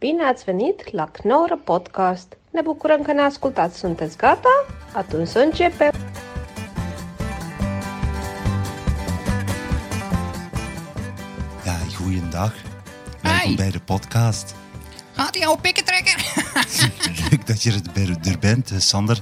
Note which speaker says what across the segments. Speaker 1: Bine ați venit la Knorr Podcast! Ne bucurăm că ne ascultați! Sunteți gata? Atunci să începem!
Speaker 2: Ja, goeiedag.
Speaker 3: Hi.
Speaker 2: Welkom bij de podcast.
Speaker 3: Gaat die oude pikkentrekker?
Speaker 2: Leuk dat je er bij- er bent, eh, Sander.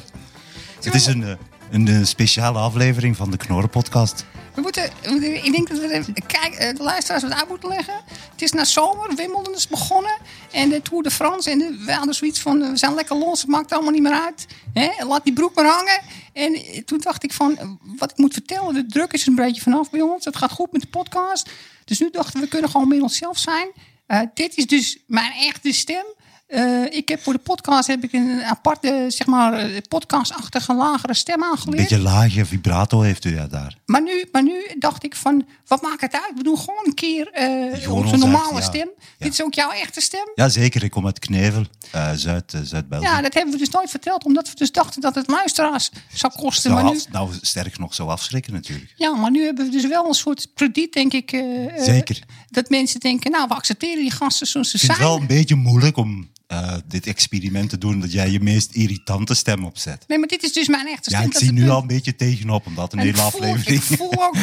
Speaker 2: Het is een, eh, een eh, speciale aflevering van de Knorren podcast.
Speaker 3: We moeten, we moeten- ik denk dat we de, kijk, eh, de luisteraars wat uit moeten leggen. Het is na zomer, Wimbledon is begonnen. En de Tour de France. En de, we hadden zoiets van, eh, we zijn lekker los, het maakt allemaal niet meer uit. Hè? Laat die broek maar hangen. En eh, toen dacht ik van, eh, wat ik moet vertellen, de druk is er een beetje vanaf bij ons. Het gaat goed met de podcast. Dus nu dachten we, we kunnen gewoon met onszelf zijn. Eh, dit is dus mijn echte stem. Eh, ik heb voor de podcast heb ik een aparte, zeg maar, eh, podcastachtige lagere stem
Speaker 2: Een
Speaker 3: aangeleerd.
Speaker 2: beetje lage vibrato heeft u ja, daar.
Speaker 3: Maar nu, maar nu dacht ik van, wat maakt het uit? We doen gewoon een keer eh
Speaker 2: hoort
Speaker 3: onze
Speaker 2: ons
Speaker 3: normale
Speaker 2: echt, ja.
Speaker 3: stem. Dit is ook jouw echte stem.
Speaker 2: Jazeker, ik kom uit Knevel, eh, Zuid, eh, Zuid-België.
Speaker 3: Ja, dat hebben we dus nooit verteld, omdat we dus dachten dat het luisteraars zou kosten.
Speaker 2: nou,
Speaker 3: Maar nu,
Speaker 2: af- nou, sterk nog zo afschrikken natuurlijk.
Speaker 3: ja, maar nu hebben we dus wel een soort krediet, denk ik. eh, eh,
Speaker 2: Zeker.
Speaker 3: Dat mensen denken, nou, we accepteren die gasten zoals ze
Speaker 2: Ik vind
Speaker 3: zijn.
Speaker 2: het wel een beetje moeilijk om eh, dit experiment te doen dat jij je meest irritante stem opzet.
Speaker 3: Nee, maar dit is dus mijn echte
Speaker 2: Ja,
Speaker 3: stem.
Speaker 2: ik
Speaker 3: dat
Speaker 2: zie
Speaker 3: is
Speaker 2: nu
Speaker 3: het
Speaker 2: al
Speaker 3: punt.
Speaker 2: een beetje tegenop, omdat een
Speaker 3: En
Speaker 2: hele
Speaker 3: ik voel-
Speaker 2: aflevering...
Speaker 3: Ik voel ook.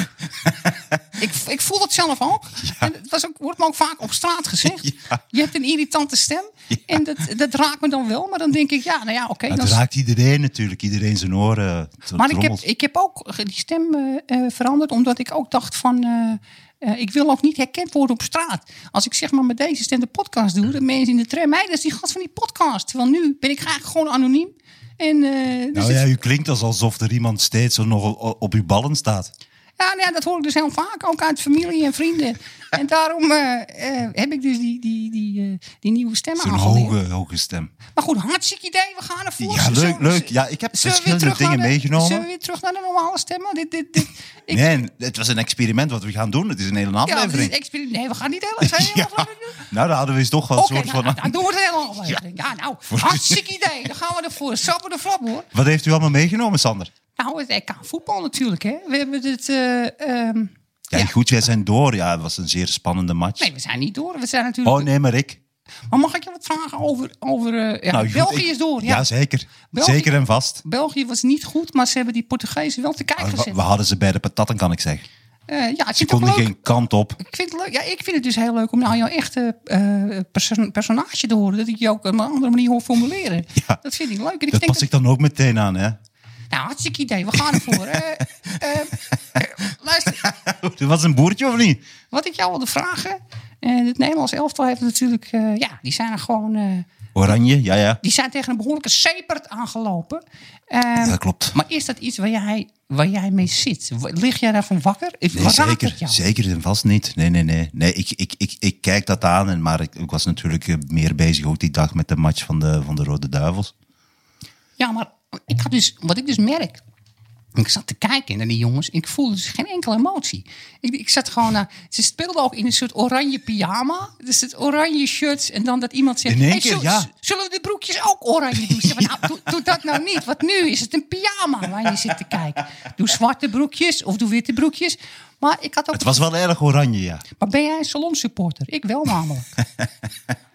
Speaker 3: ik, ik voel het zelf ook. En het was ook, wordt me ook vaak op straat gezegd.
Speaker 2: Ja.
Speaker 3: Je hebt een irritante stem. En dat, dat raakt me dan wel. Maar dan denk ik, ja, nou ja, oké.
Speaker 2: Maar
Speaker 3: dan
Speaker 2: het raakt iedereen natuurlijk, iedereen zijn oren. eh,
Speaker 3: maar ik heb,
Speaker 2: trommelt.
Speaker 3: ik heb ook die stem eh, eh, veranderd, omdat ik ook dacht van. eh, eh, ik wil ook niet herkend worden op straat. Als ik zeg maar met deze stem de podcast doe, dat mensen in de tram, mij, dat is die gast van die podcast. Want nu ben ik eigenlijk gewoon anoniem. En, eh, dus
Speaker 2: Nou
Speaker 3: het-
Speaker 2: ja, u klinkt als- alsof er iemand steeds zo nog o- op uw ballen staat.
Speaker 3: Ja, nou ja, dat hoor ik dus heel vaak, ook uit familie en vrienden. En daarom eh, eh, heb ik dus die, die, die, eh, die nieuwe stem
Speaker 2: Zo'n
Speaker 3: aangeleerd.
Speaker 2: hoge, hoge stem.
Speaker 3: Maar goed, hartstikke idee, we gaan ervoor.
Speaker 2: Ja,
Speaker 3: Zullen-
Speaker 2: leuk, leuk. Ja, ik heb
Speaker 3: zullen we
Speaker 2: verschillende
Speaker 3: weer terug
Speaker 2: dingen
Speaker 3: naar de-
Speaker 2: meegenomen.
Speaker 3: Zullen we weer terug naar de normale stem? Want Dit, dit, dit, ik,
Speaker 2: Nee, het was een experiment wat we gaan doen. Het is een hele
Speaker 3: ja, dit is een
Speaker 2: aflevering.
Speaker 3: experiment. Nee, we gaan niet helemaal zijn.
Speaker 2: Ja. Nou, daar hadden we eens toch wel een
Speaker 3: Oké,
Speaker 2: soort
Speaker 3: nou,
Speaker 2: van...
Speaker 3: nou, dan doen we het helemaal. aflevering. Ja, nou, hartstikke idee. Dan gaan we ervoor. Sappen de flap, hoor.
Speaker 2: Wat heeft u allemaal meegenomen, Sander?
Speaker 3: Nou, het EK voetbal natuurlijk, hè. We hebben het... eh, ehm,
Speaker 2: Ja,
Speaker 3: Ja.
Speaker 2: goed, wij zijn door. Ja, het was een zeer spannende match.
Speaker 3: nee, we zijn niet door. We zijn natuurlijk...
Speaker 2: Oh, nee, maar ik.
Speaker 3: Maar mag ik je wat vragen over... over eh, ja,
Speaker 2: Nou, goed,
Speaker 3: België
Speaker 2: ik-
Speaker 3: is door. Ja.
Speaker 2: Ja, zeker.
Speaker 3: België-
Speaker 2: Zeker en vast.
Speaker 3: België was niet goed, maar ze hebben die Portugezen wel te kijken
Speaker 2: We
Speaker 3: gezet.
Speaker 2: we hadden ze bij de patatten, kan ik zeggen.
Speaker 3: Eh, ja, ik
Speaker 2: Ah, Ze
Speaker 3: vind, het ook
Speaker 2: konden
Speaker 3: leuk.
Speaker 2: geen kant op.
Speaker 3: ik vind het leuk. Ja, ik vind het dus heel leuk om nou jouw echte eh, perso- personage te horen. Dat ik je ook op een andere manier hoor formuleren.
Speaker 2: Ja.
Speaker 3: Dat vind ik leuk. En ik
Speaker 2: Dat
Speaker 3: denk
Speaker 2: pas
Speaker 3: dat,
Speaker 2: ik dan ook meteen aan, hè.
Speaker 3: Nou, hartstikke idee. We gaan ervoor. Eh, eh, eh, luister,
Speaker 2: Het was een boertje, of niet?
Speaker 3: wat ik jou wilde vragen. eh, het Nederlands elftal heeft natuurlijk... eh, ja, die zijn er gewoon... eh,
Speaker 2: Oranje, ja, ja.
Speaker 3: die zijn tegen een behoorlijke sepert aangelopen. Eh,
Speaker 2: Ja, klopt.
Speaker 3: Maar is dat iets waar jij, waar jij mee zit? W- Lig jij daarvan wakker? Of
Speaker 2: Nee,
Speaker 3: raakt
Speaker 2: zeker,
Speaker 3: het jou?
Speaker 2: zeker en vast niet. Nee, nee, nee. nee ik, ik, ik, ik kijk dat aan, en- maar ik, ik was natuurlijk eh, meer bezig ook die dag met de match van de, van de Rode Duivels.
Speaker 3: Ja, maar ik had dus, wat ik dus merk. Ik zat te kijken naar die jongens. Ik voelde dus geen enkele emotie. Ik, ik zat gewoon naar. Ze speelden ook in een soort oranje pyjama. Dus het oranje shirt. En dan dat iemand zegt.
Speaker 2: In één
Speaker 3: "Hey,
Speaker 2: keer,
Speaker 3: zul-
Speaker 2: ja.
Speaker 3: Zullen we de broekjes ook oranje doen? Zeg maar, nou, doe, doe dat nou niet. Want nu is het een pyjama waar je zit te kijken. Doe zwarte broekjes of doe witte broekjes. Maar ik had ook
Speaker 2: Het was wel erg oranje, ja.
Speaker 3: maar ben jij een salonsupporter? Ik wel namelijk.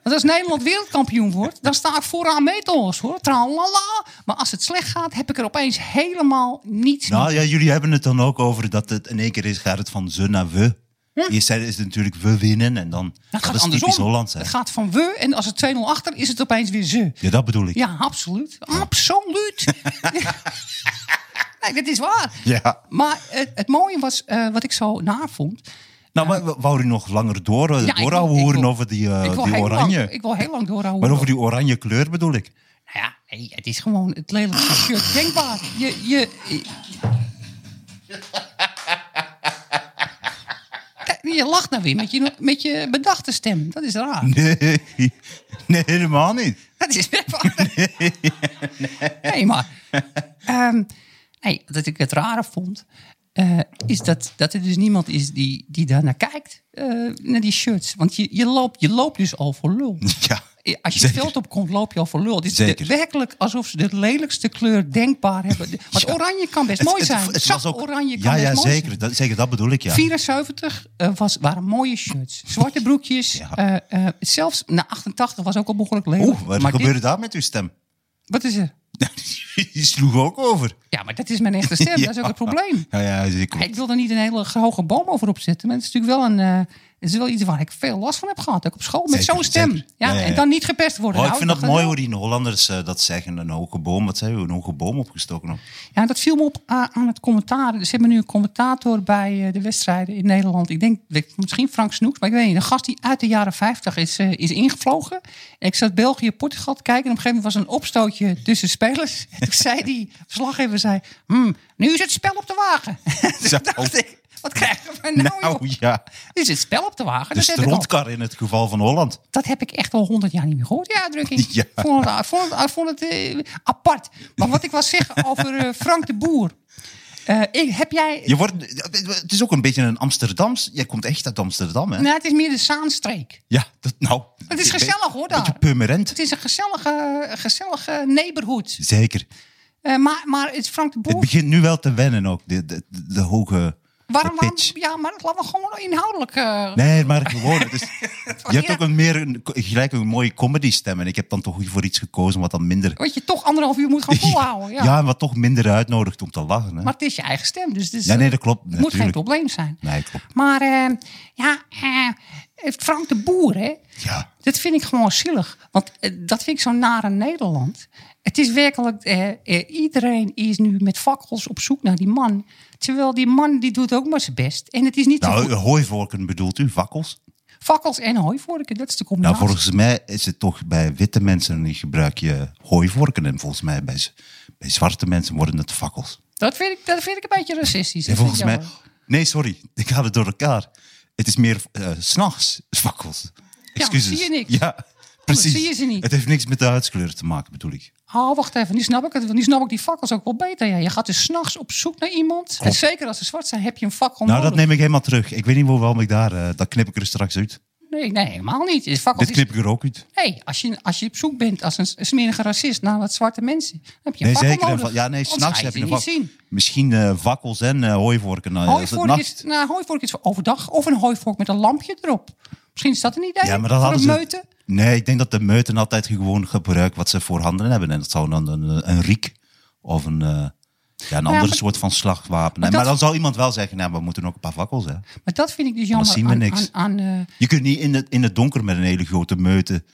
Speaker 3: Want als Nederland wereldkampioen wordt, dan sta ik vooraan met ons hoor. Tralala. Maar als het slecht gaat, heb ik er opeens helemaal niets mee.
Speaker 2: Nou ja, jullie hebben het dan ook over dat het in één keer is, gaat het van ze naar we.
Speaker 3: Hm?
Speaker 2: Eerst zijn- is het natuurlijk we winnen en dan... Dat, is typisch Hollands, hè.
Speaker 3: Het gaat van we en als het 2-0 achter is het opeens weer ze.
Speaker 2: Ja, dat bedoel ik.
Speaker 3: Ja, absoluut. Absoluut. nee, dat is waar.
Speaker 2: Ja.
Speaker 3: Maar het, het mooie was, eh, wat ik zo navond.
Speaker 2: Nou, maar w- wou u nog langer door, eh,
Speaker 3: Ja, ik
Speaker 2: doorhouden
Speaker 3: wil- ik
Speaker 2: horen
Speaker 3: wil-
Speaker 2: over die, eh,
Speaker 3: ik wil
Speaker 2: die
Speaker 3: heel
Speaker 2: oranje?
Speaker 3: Lang, ik wil heel lang doorhouden.
Speaker 2: Maar over die oranje kleur bedoel ik.
Speaker 3: Nou ja, nee, het is gewoon het lelijkste shirt denkbaar. Je, je... Eh, Je lacht nou weer met je, met je bedachte stem. Dat is raar.
Speaker 2: Nee, nee helemaal niet.
Speaker 3: Dat is weer waar. Nee, maar... ehm, nee, wat ik het rare vond... eh, is dat, dat er dus niemand is die, die daar naar kijkt. eh, naar die shirts. Want je, je, loopt, je loopt dus al voor lul.
Speaker 2: Ja,
Speaker 3: eh, Als je het
Speaker 2: Zeker.
Speaker 3: veld op komt, loop je al voor lul. Dit is
Speaker 2: Zeker.
Speaker 3: de- werkelijk alsof ze de lelijkste kleur denkbaar hebben. De- Want oranje kan best mooi zijn.
Speaker 2: was
Speaker 3: Zacht
Speaker 2: ook-
Speaker 3: oranje kan
Speaker 2: ja,
Speaker 3: best
Speaker 2: ja,
Speaker 3: mooi
Speaker 2: zeker,
Speaker 3: zijn.
Speaker 2: dat, zeker, dat bedoel ik, ja.
Speaker 3: 74 eh, was, waren mooie shirts. Zwarte broekjes. eh, eh, zelfs na 88 was ook al behoorlijk lelijk.
Speaker 2: Oeh, wat
Speaker 3: Maar dit-
Speaker 2: gebeurde daar met uw stem?
Speaker 3: wat is er?
Speaker 2: Die sloeg ook over.
Speaker 3: Ja, maar dat is mijn echte stem.
Speaker 2: Ja.
Speaker 3: Dat is ook het probleem.
Speaker 2: Ja, ja, zeker.
Speaker 3: Ik wil er niet een hele hoge boom over opzetten. Maar het is natuurlijk wel, een, eh, het is wel iets waar ik veel last van heb gehad. Ook op school met
Speaker 2: Zeker,
Speaker 3: zo'n stem.
Speaker 2: zeker.
Speaker 3: Ja,
Speaker 2: Ja, ja, ja.
Speaker 3: En dan niet gepest worden.
Speaker 2: Oh, ik
Speaker 3: Nou,
Speaker 2: vind dat
Speaker 3: dacht,
Speaker 2: mooi
Speaker 3: eh,
Speaker 2: hoe die Hollanders eh, dat zeggen. Een hoge boom, wat zei u? Een hoge boom opgestoken. Op.
Speaker 3: Ja, dat viel me op a- aan het commentaar. Dus ze hebben nu een commentator bij eh, de wedstrijden in Nederland. Ik denk weet- misschien Frank Snoeks, maar ik weet niet. Een gast die uit de jaren 50 is, eh, is ingevlogen. En ik zat België-Portugal te kijken. En op een gegeven moment was er een opstootje tussen spelers. En toen zei die verslaggever, zei, "Hmm, nu is het spel op de wagen. Toen
Speaker 2: Zo.
Speaker 3: dacht ik, wat krijgen we nou,
Speaker 2: oh. Nou
Speaker 3: joh?
Speaker 2: ja, Dus
Speaker 3: Nu is het spel op de wagen.
Speaker 2: de
Speaker 3: dat, heb ik al,
Speaker 2: strontkar in het geval van Holland.
Speaker 3: dat heb ik echt al honderd jaar niet meer gehoord, die uitdrukking.
Speaker 2: Ja.
Speaker 3: Ik vond het, ik vond het, ik vond het eh, apart. Maar wat ik wil zeggen over eh, Frank de Boer. Eh, ik, heb jij
Speaker 2: Je wordt, het is ook een beetje een Amsterdams. Jij komt echt uit Amsterdam, hè?
Speaker 3: Nou, het is meer de Zaanstreek.
Speaker 2: Ja, dat, nou.
Speaker 3: Het is gezellig, hoor, daar.
Speaker 2: Beetje pummerend.
Speaker 3: Het is een gezellige, een gezellige neighborhood.
Speaker 2: Zeker.
Speaker 3: Eh, maar, maar het is Frank de
Speaker 2: Het
Speaker 3: Boer.
Speaker 2: begint nu wel te wennen ook, de, de, de hoge
Speaker 3: Waarom,
Speaker 2: de
Speaker 3: waarom,
Speaker 2: pitch.
Speaker 3: ja, maar laten we gewoon inhoudelijk. eh,
Speaker 2: Nee, maar gewoon. Het is, je hebt
Speaker 3: ja.
Speaker 2: ook een meer een, gelijk een mooie comedy stem. En ik heb dan toch voor iets gekozen wat dan minder...
Speaker 3: Wat je toch anderhalf uur moet gaan volhouden. Oh, Ja.
Speaker 2: Ja, en wat toch minder uitnodigt om te lachen. Hè?
Speaker 3: Maar het is je eigen stem. Dus het is,
Speaker 2: Ja, nee, dat klopt.
Speaker 3: het moet geen
Speaker 2: Natuurlijk.
Speaker 3: probleem zijn.
Speaker 2: Nee, klopt.
Speaker 3: Maar eh, ja, eh, Frank de Boer, hè?
Speaker 2: Ja.
Speaker 3: Dat vind ik gewoon zielig. Want eh, dat vind ik zo naar in Nederland. Het is werkelijk, eh, eh, iedereen is nu met fakkels op zoek naar die man. Terwijl die man, die doet ook maar zijn best. En het is niet zo
Speaker 2: Nou,
Speaker 3: goed.
Speaker 2: hooivorken bedoelt u, vakkels?
Speaker 3: Fakkels en hooivorken, dat is de
Speaker 2: Nou,
Speaker 3: combinatie.
Speaker 2: volgens mij is het toch bij witte mensen die gebruik je hooivorken. En volgens mij bij, z- bij zwarte mensen worden het vakkels.
Speaker 3: dat, vind ik, dat vind ik een beetje racistisch.
Speaker 2: En
Speaker 3: Dat vind
Speaker 2: volgens
Speaker 3: ik
Speaker 2: mij...
Speaker 3: jammer.
Speaker 2: Nee, sorry. Ik haal het door elkaar. Het is meer eh, s s'nachts vakkels. Excuses.
Speaker 3: zie je niks.
Speaker 2: Ja, precies.
Speaker 3: zie je ze niet.
Speaker 2: Het heeft niks met de huidskleur te maken, bedoel ik.
Speaker 3: Oh, wacht even, nu snap ik het. want Nu snap ik die fakkels ook wel beter. Ja. Je gaat dus s'nachts op zoek naar iemand. En zeker als ze zwart zijn, heb je een fakkel
Speaker 2: Nou, dat
Speaker 3: nodig.
Speaker 2: neem ik helemaal terug. Ik weet niet hoe- waarom ik daar... eh, dat knip ik er straks uit.
Speaker 3: Nee, nee, helemaal niet. Is Fakkels
Speaker 2: Dit
Speaker 3: is-
Speaker 2: knip ik er ook uit.
Speaker 3: Nee, als je, als je op zoek bent als een s- smerige racist naar wat zwarte mensen, dan heb je
Speaker 2: Nee,
Speaker 3: een fakkel
Speaker 2: zeker. een
Speaker 3: nodig.
Speaker 2: va- ja, nee,
Speaker 3: Anders
Speaker 2: s'nachts
Speaker 3: ga
Speaker 2: heb je
Speaker 3: ze
Speaker 2: een
Speaker 3: niet
Speaker 2: vak-
Speaker 3: zien.
Speaker 2: Misschien eh, vakkels en eh hooivorken. Nou, ja, als het
Speaker 3: Hooivork
Speaker 2: nacht-
Speaker 3: is, nou, hooivork is voor overdag of een hooivork met een lampje erop. Misschien is dat een idee
Speaker 2: Ja, maar dat
Speaker 3: voor
Speaker 2: hadden
Speaker 3: een
Speaker 2: ze...
Speaker 3: meute.
Speaker 2: Nee, ik denk dat de meuten altijd gewoon gebruiken wat ze voorhanden hebben. En dat zou dan een, een riek of een, eh, ja, een ander
Speaker 3: maar-
Speaker 2: soort van slagwapen. Maar,
Speaker 3: dat-
Speaker 2: maar dan zou iemand wel zeggen, nou, we moeten ook een paar vakkels. Hè.
Speaker 3: Maar dat vind ik dus jammer
Speaker 2: zien we
Speaker 3: aan,
Speaker 2: niks.
Speaker 3: aan, aan, eh,
Speaker 2: Je kunt niet in het, in het donker met een hele grote meute,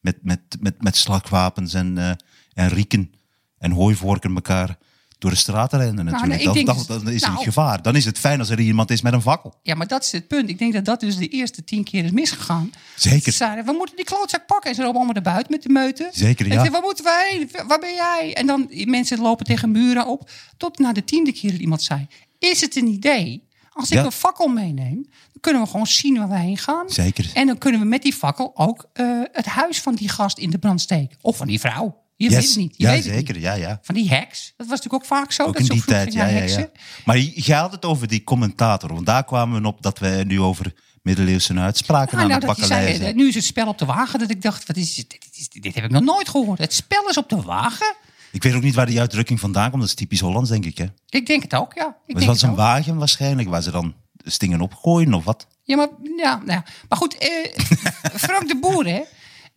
Speaker 2: met, met, met, met slagwapens en, eh, en rieken en hooivorken elkaar door de straat rennen natuurlijk.
Speaker 3: ik
Speaker 2: Dat-
Speaker 3: denk
Speaker 2: dat,
Speaker 3: dus-
Speaker 2: dan is er
Speaker 3: nou.
Speaker 2: een gevaar. Dan is het fijn als er iemand is met een fakkel.
Speaker 3: ja, maar dat is het punt. Ik denk dat dat dus de eerste tien keer is misgegaan. Ze
Speaker 2: Zeker.
Speaker 3: zeiden, we moeten die klootzak pakken. En ze lopen allemaal naar buiten met de meuten.
Speaker 2: Zeker,
Speaker 3: En
Speaker 2: ja.
Speaker 3: ze, waar moeten wij heen? Waar ben jij? En dan die mensen lopen tegen muren op. Tot na de tiende keer dat iemand zei, is het een idee? Als ik
Speaker 2: Ja.
Speaker 3: een fakkel meeneem, dan kunnen we gewoon zien waar wij heen gaan.
Speaker 2: Zeker.
Speaker 3: En dan kunnen we met die fakkel ook eh, het huis van die gast in de brand steken. Of van die vrouw. Je weet
Speaker 2: Yes.
Speaker 3: het niet. Je
Speaker 2: ja,
Speaker 3: weet het
Speaker 2: zeker.
Speaker 3: niet.
Speaker 2: Ja, ja.
Speaker 3: Van die heks. Dat was natuurlijk ook vaak zo.
Speaker 2: Ook
Speaker 3: dat
Speaker 2: in
Speaker 3: ze op
Speaker 2: die
Speaker 3: zoek
Speaker 2: tijd,
Speaker 3: ging
Speaker 2: ja,
Speaker 3: naar
Speaker 2: ja,
Speaker 3: heksen.
Speaker 2: ja. Maar j- jij had het over die commentator. Want daar kwamen we op dat we nu over middeleeuwse uitspraken
Speaker 3: Ah,
Speaker 2: aan
Speaker 3: nou,
Speaker 2: het
Speaker 3: dat je
Speaker 2: pakken
Speaker 3: zei,
Speaker 2: zijn.
Speaker 3: eh, nu is het spel op de wagen. Dat ik dacht, wat is, dit, dit, is- dit heb ik nog nooit gehoord. Het spel is op de wagen?
Speaker 2: Ik weet ook niet waar die uitdrukking vandaan komt. Dat is typisch Hollands, denk ik. Hè?
Speaker 3: Ik denk het ook, ja. Ik
Speaker 2: Het
Speaker 3: denk
Speaker 2: was
Speaker 3: het
Speaker 2: een
Speaker 3: ook.
Speaker 2: wagen waarschijnlijk, waar ze dan stingen opgooien of wat.
Speaker 3: Ja, maar, ja, nou ja. maar goed, eh, Frank de Boer, hè.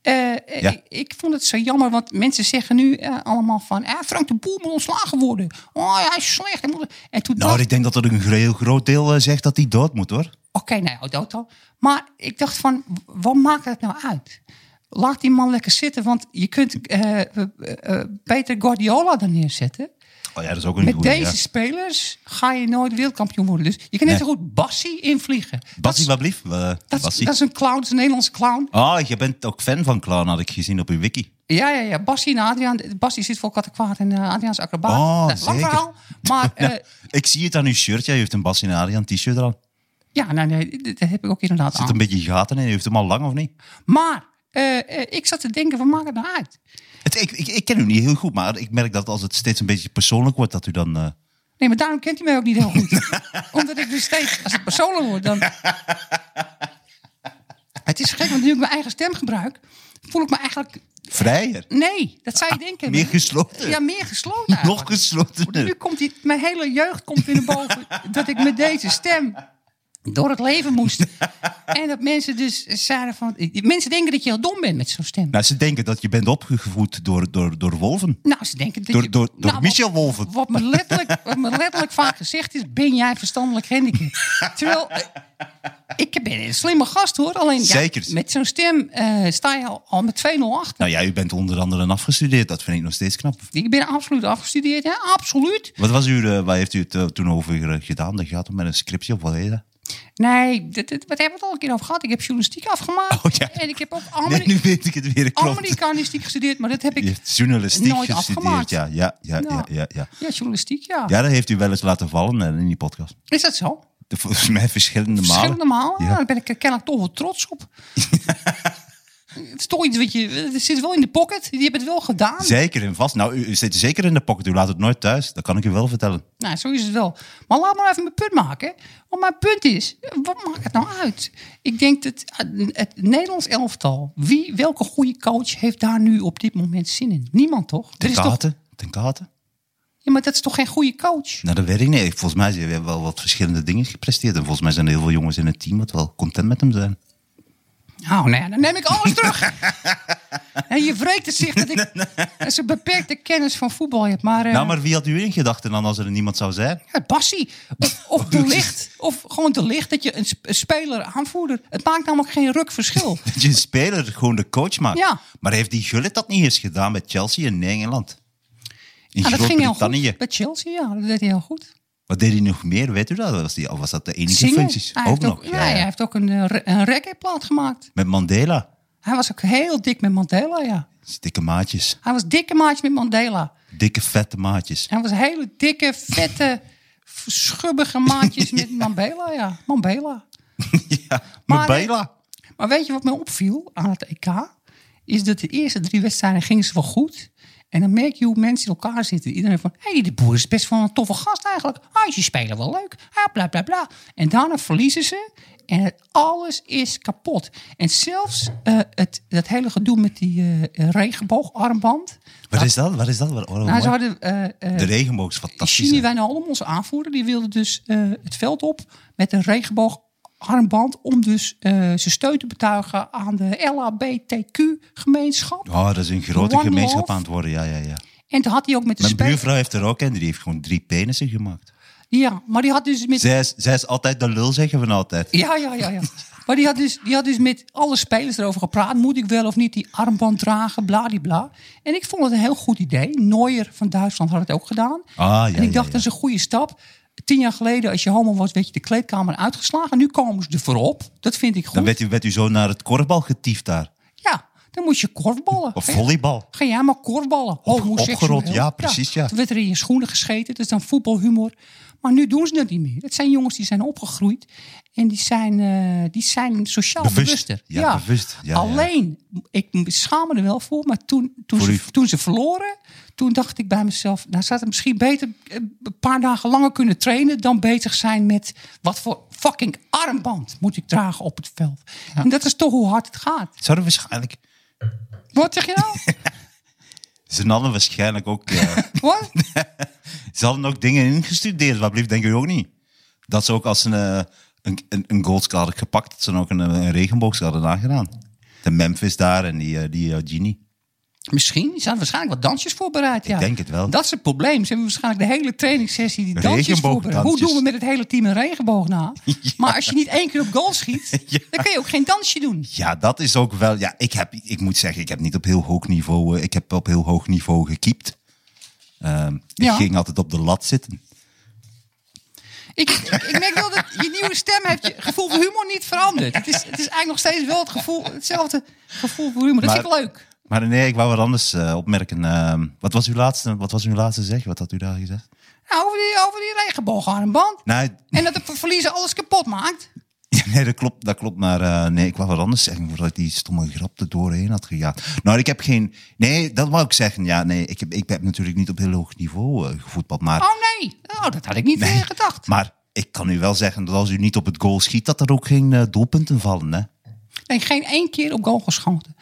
Speaker 3: Eh, eh,
Speaker 2: Ja.
Speaker 3: ik, ik vond het zo jammer, want mensen zeggen nu eh, allemaal van... Eh, Frank de Boer moet ontslagen worden. Oh, hij is slecht. hij moet- En toen
Speaker 2: Nou,
Speaker 3: dacht-
Speaker 2: ik denk dat er een heel groot deel eh, zegt dat hij dood moet, hoor.
Speaker 3: Oké, nou ja, dood al. Maar ik dacht van, w- wat maakt het nou uit? Laat die man lekker zitten, want je kunt eh, eh, eh, Peter Guardiola er neerzetten.
Speaker 2: Oh ja, dat is ook een
Speaker 3: Met
Speaker 2: goede.
Speaker 3: deze
Speaker 2: Ja.
Speaker 3: spelers ga je nooit wereldkampioen worden. Dus je kan net zo goed Bassi invliegen. Dat
Speaker 2: Bassie,
Speaker 3: is-
Speaker 2: wat blieft? Eh,
Speaker 3: dat, is-
Speaker 2: Bassie.
Speaker 3: dat is een clown, dat is een Nederlandse clown.
Speaker 2: Ah, je bent ook fan van clown, had ik gezien op uw wiki.
Speaker 3: Ja, ja, ja. Bassi en Adriaan. Bassi zit vol kattenkwaad en eh, Adriaan is acrobaat.
Speaker 2: Oh,
Speaker 3: dat is een lang
Speaker 2: zeker.
Speaker 3: verhaal. Maar eh,
Speaker 2: Ik zie het aan uw shirt. Ja, je heeft een Bassie en Adriaan t-shirt aan. Er
Speaker 3: ja, nou, nee, dat dat heb ik ook inderdaad aan.
Speaker 2: zitten een beetje gaten in. Je heeft hem al lang of niet?
Speaker 3: Maar eh, eh, ik zat te denken, wat maakt het nou uit?
Speaker 2: Het, ik, ik, ik ken u niet heel goed, maar ik merk dat als het steeds een beetje persoonlijk wordt, dat u dan... eh,
Speaker 3: Nee, maar daarom kent hij mij ook niet heel goed. Omdat ik dus steeds, als ik persoonlijk word, dan... het is gek, want nu ik mijn eigen stem gebruik... voel ik me eigenlijk...
Speaker 2: Vrijer.
Speaker 3: Nee, dat zou je denken.
Speaker 2: Ah, Meer gesloten.
Speaker 3: Ja, meer gesloten
Speaker 2: Nog
Speaker 3: eigenlijk. Nu
Speaker 2: gesloten.
Speaker 3: komt die, mijn hele jeugd komt weer naar boven dat ik met deze stem door het leven moest. En dat mensen dus zeiden van... Mensen denken dat je heel dom bent met zo'n stem.
Speaker 2: Nou, ze denken dat je bent opgevoed door, door, door wolven.
Speaker 3: Nou, ze denken dat
Speaker 2: Door-
Speaker 3: je- Nou,
Speaker 2: door- door
Speaker 3: wat-
Speaker 2: Michel Wolven.
Speaker 3: Wat me, letterlijk, wat me letterlijk vaak gezegd is, ben jij verstandelijk handicapt? Terwijl, eh, ik ben een slimme gast hoor. Alleen ja,
Speaker 2: Zeker.
Speaker 3: met zo'n stem eh, sta je al, al met 2-0 achter.
Speaker 2: Nou ja, u bent onder andere een afgestudeerd. Dat vind ik nog steeds knap.
Speaker 3: Ik ben absoluut afgestudeerd, ja, absoluut.
Speaker 2: Wat was u, eh, waar heeft u het eh, toen over eh, gedaan? Dat gaat om met een scriptje of wat heet dat?
Speaker 3: Oh, Nee, dat, dat, wat hebben we het al een keer over gehad? Ik heb journalistiek afgemaakt.
Speaker 2: Oh, ja.
Speaker 3: En ik heb ook
Speaker 2: Nee,
Speaker 3: Ameri-
Speaker 2: nu weet ik het weer. Klopt.
Speaker 3: Amerikanistiek gestudeerd, maar dat heb ik...
Speaker 2: Je hebt journalistiek
Speaker 3: oh, nooit
Speaker 2: gestudeerd.
Speaker 3: afgemaakt.
Speaker 2: Ja, ja, ja, ja,
Speaker 3: Nou.
Speaker 2: ja, ja.
Speaker 3: Ja, journalistiek, ja.
Speaker 2: Ja, dat heeft u wel eens laten vallen eh, in die podcast.
Speaker 3: Is dat zo?
Speaker 2: De- Volgens mij verschillende,
Speaker 3: Verschillende
Speaker 2: malen.
Speaker 3: malen.
Speaker 2: Ja.
Speaker 3: Ja. Daar ben ik er kennelijk toch wel trots op. het is toch iets wat je... Het zit wel in de pocket. Je hebt het wel gedaan.
Speaker 2: Zeker en vast. Nou, u, u zit zeker in de pocket. U laat het nooit thuis. Dat kan ik u wel vertellen.
Speaker 3: Nou, zo is het wel. Maar laat maar even mijn punt maken. Want mijn punt is, wat maakt het nou uit? Ik denk dat eh, het Nederlands elftal... Wie, welke goede coach heeft daar nu op dit moment zin in? Niemand, toch? Er
Speaker 2: Ten
Speaker 3: is toch
Speaker 2: kate? Ten kate?
Speaker 3: ja, maar dat is toch geen goede coach?
Speaker 2: Nou, dat weet ik niet. Volgens mij hebben we wel wat verschillende dingen gepresteerd. En volgens mij zijn er heel veel jongens in het team wat wel content met hem zijn.
Speaker 3: Nou, nee, dan neem ik alles terug. en je wreekt het zich dat ik dat ze beperkte kennis van voetbal heb. Maar, eh,
Speaker 2: Nou, maar wie had u in gedachten dan als er niemand zou zijn?
Speaker 3: Ja, passie. Of, of te licht. Of gewoon te licht dat je een, sp- een speler aanvoerder. Het maakt namelijk geen ruk verschil.
Speaker 2: Dat je een speler gewoon de coach maakt.
Speaker 3: Ja.
Speaker 2: Maar heeft die Gullit dat niet eens gedaan met Chelsea in Engeland? In
Speaker 3: Ja, Nou, dat ging heel
Speaker 2: Groot-Brittannië.
Speaker 3: goed. Bij Chelsea, ja, dat deed hij heel goed.
Speaker 2: Wat deed hij nog meer? Weet u dat? Was die, of was dat de enige
Speaker 3: Zingen. Ah,
Speaker 2: functies?
Speaker 3: Hij
Speaker 2: ook
Speaker 3: heeft
Speaker 2: nog.
Speaker 3: ook,
Speaker 2: ja,
Speaker 3: nee,
Speaker 2: ja.
Speaker 3: Hij heeft ook een, eh, re- een reggae-plaat gemaakt.
Speaker 2: Met Mandela.
Speaker 3: Hij was ook heel dik met Mandela, ja.
Speaker 2: Dikke maatjes.
Speaker 3: Hij was dikke maatje met Mandela.
Speaker 2: Dikke, vette maatjes.
Speaker 3: Hij was hele dikke, vette, f- schubbige maatjes met Mandela, ja. Mandela.
Speaker 2: Ja,
Speaker 3: Maar-
Speaker 2: Mandela.
Speaker 3: Maar weet je wat mij opviel aan het EK? Is dat de eerste drie wedstrijden gingen ze wel goed. En dan merk je hoe mensen in elkaar zitten. Iedereen van, hé, hey, die boer is best wel een toffe gast eigenlijk. Ah, ze spelen wel leuk. Ah, bla, bla, bla. En daarna verliezen ze. En alles is kapot. En zelfs eh, het, dat hele gedoe met die eh, regenboogarmband.
Speaker 2: Wat is dat? Wat is dat? Wat, oh,
Speaker 3: Nou,
Speaker 2: mooi.
Speaker 3: ze hadden eh, eh,
Speaker 2: De regenboog is eh, fantastisch.
Speaker 3: Jimmy
Speaker 2: hè?
Speaker 3: Wijnaldum, onze aanvoerder, die wilde dus eh, het veld op met een regenboogarmband om dus eh, zijn steun te betuigen aan de LHBTQ-gemeenschap.
Speaker 2: Oh, dat is een grote
Speaker 3: One
Speaker 2: gemeenschap
Speaker 3: Love.
Speaker 2: aan het worden. Ja, ja, ja.
Speaker 3: En toen had hij ook met de
Speaker 2: Mijn
Speaker 3: spelers...
Speaker 2: buurvrouw heeft er ook een. Die heeft gewoon drie penissen gemaakt.
Speaker 3: Ja, maar die had dus met...
Speaker 2: Zij is, zij is altijd de lul, zeggen we altijd.
Speaker 3: Ja, ja, ja, ja. Maar die had, dus, die had dus met alle spelers erover gepraat. Moet ik wel of niet die armband dragen, bladibla. En ik vond het een heel goed idee. Neuer van Duitsland had het ook gedaan.
Speaker 2: Ah, ja,
Speaker 3: en ik
Speaker 2: ja,
Speaker 3: dacht,
Speaker 2: ja.
Speaker 3: dat is een goede stap. Tien jaar geleden, als je homo was, werd je de kleedkamer uitgeslagen. Nu komen ze er voorop. Dat vind ik goed.
Speaker 2: Dan werd u, werd u zo naar het korfbal getiefd daar.
Speaker 3: Ja, dan moest je korfballen.
Speaker 2: Of
Speaker 3: Ga-
Speaker 2: volleybal.
Speaker 3: Ga jij maar korfballen. Homoseksueel.
Speaker 2: opgerold, ja, precies, ja.
Speaker 3: Toen werd er in je schoenen gescheten. Dat is dan voetbalhumor. Maar nu doen ze dat niet meer. Dat zijn jongens die zijn opgegroeid. En die zijn, eh, die zijn sociaal
Speaker 2: Bewust.
Speaker 3: bewuster.
Speaker 2: Ja, bewust. Ja, ja.
Speaker 3: Alleen, ik schaam me er wel voor. Maar toen, toen,
Speaker 2: Voor
Speaker 3: ze,
Speaker 2: u.
Speaker 3: toen ze verloren... Toen dacht ik bij mezelf, nou zou het misschien beter eh, een paar dagen langer kunnen trainen dan bezig zijn met wat voor fucking armband moet ik dragen op het veld. En dat is toch hoe hard het gaat.
Speaker 2: Zouden waarschijnlijk...
Speaker 3: Wat zeg je nou?
Speaker 2: Ze hadden waarschijnlijk ook... eh,
Speaker 3: Wat?
Speaker 2: ze hadden ook dingen ingestudeerd. Wat blieft, denk ik ook niet. Dat ze ook als ze een, eh, een, een, een goalscade hadden gepakt... dat ze dan ook een, eh, een regenboogskade hadden aangedaan. De Memphis daar en die, eh, die eh, Genie.
Speaker 3: Misschien. Ze hadden waarschijnlijk wat dansjes voorbereid. Ja.
Speaker 2: denk het wel.
Speaker 3: Dat is het probleem. Ze hebben waarschijnlijk de hele trainingssessie die dansjes voorbereid. Hoe
Speaker 2: Regenboogdansjes.
Speaker 3: doen we met het hele team een regenboog na? Maar als je niet één keer op goal schiet,
Speaker 2: Ja.
Speaker 3: dan kun je ook geen dansje doen.
Speaker 2: Ja, dat is ook wel. Ja, ik, heb, ik moet zeggen, ik heb niet op heel hoog niveau. eh, ik heb op heel hoog niveau gekiept. Ehm,
Speaker 3: Ja.
Speaker 2: Ik ging altijd op de lat zitten.
Speaker 3: Ik, ik, ik merk wel dat je nieuwe stem heeft je gevoel voor humor niet veranderd. Het is, het is eigenlijk nog steeds wel het gevoel, hetzelfde gevoel voor humor. Dat
Speaker 2: Maar-
Speaker 3: vind ik leuk.
Speaker 2: Maar nee, ik wou wat anders eh, opmerken. Ehm, wat, was uw laatste, wat was uw laatste zeg? Wat had u daar gezegd?
Speaker 3: Nou, over die, over die regenboogarmband.
Speaker 2: Nou,
Speaker 3: En dat de verliezen alles kapot maakt.
Speaker 2: ja, nee, dat klopt. Dat klopt maar eh, nee, ik wou wat anders zeggen voordat ik die stomme grap er doorheen had gejaagd. Nou, ik heb geen. Nee, dat wou ik zeggen. Ja, nee, ik heb, ik heb natuurlijk niet op heel hoog niveau eh, gevoetbald. Maar
Speaker 3: Oh nee, oh, dat had ik niet eh, gedacht.
Speaker 2: Maar ik kan u wel zeggen dat als u niet op het goal schiet, dat er ook geen eh, doelpunten vallen. Hè?
Speaker 3: Nee, geen één keer op goal geschoten.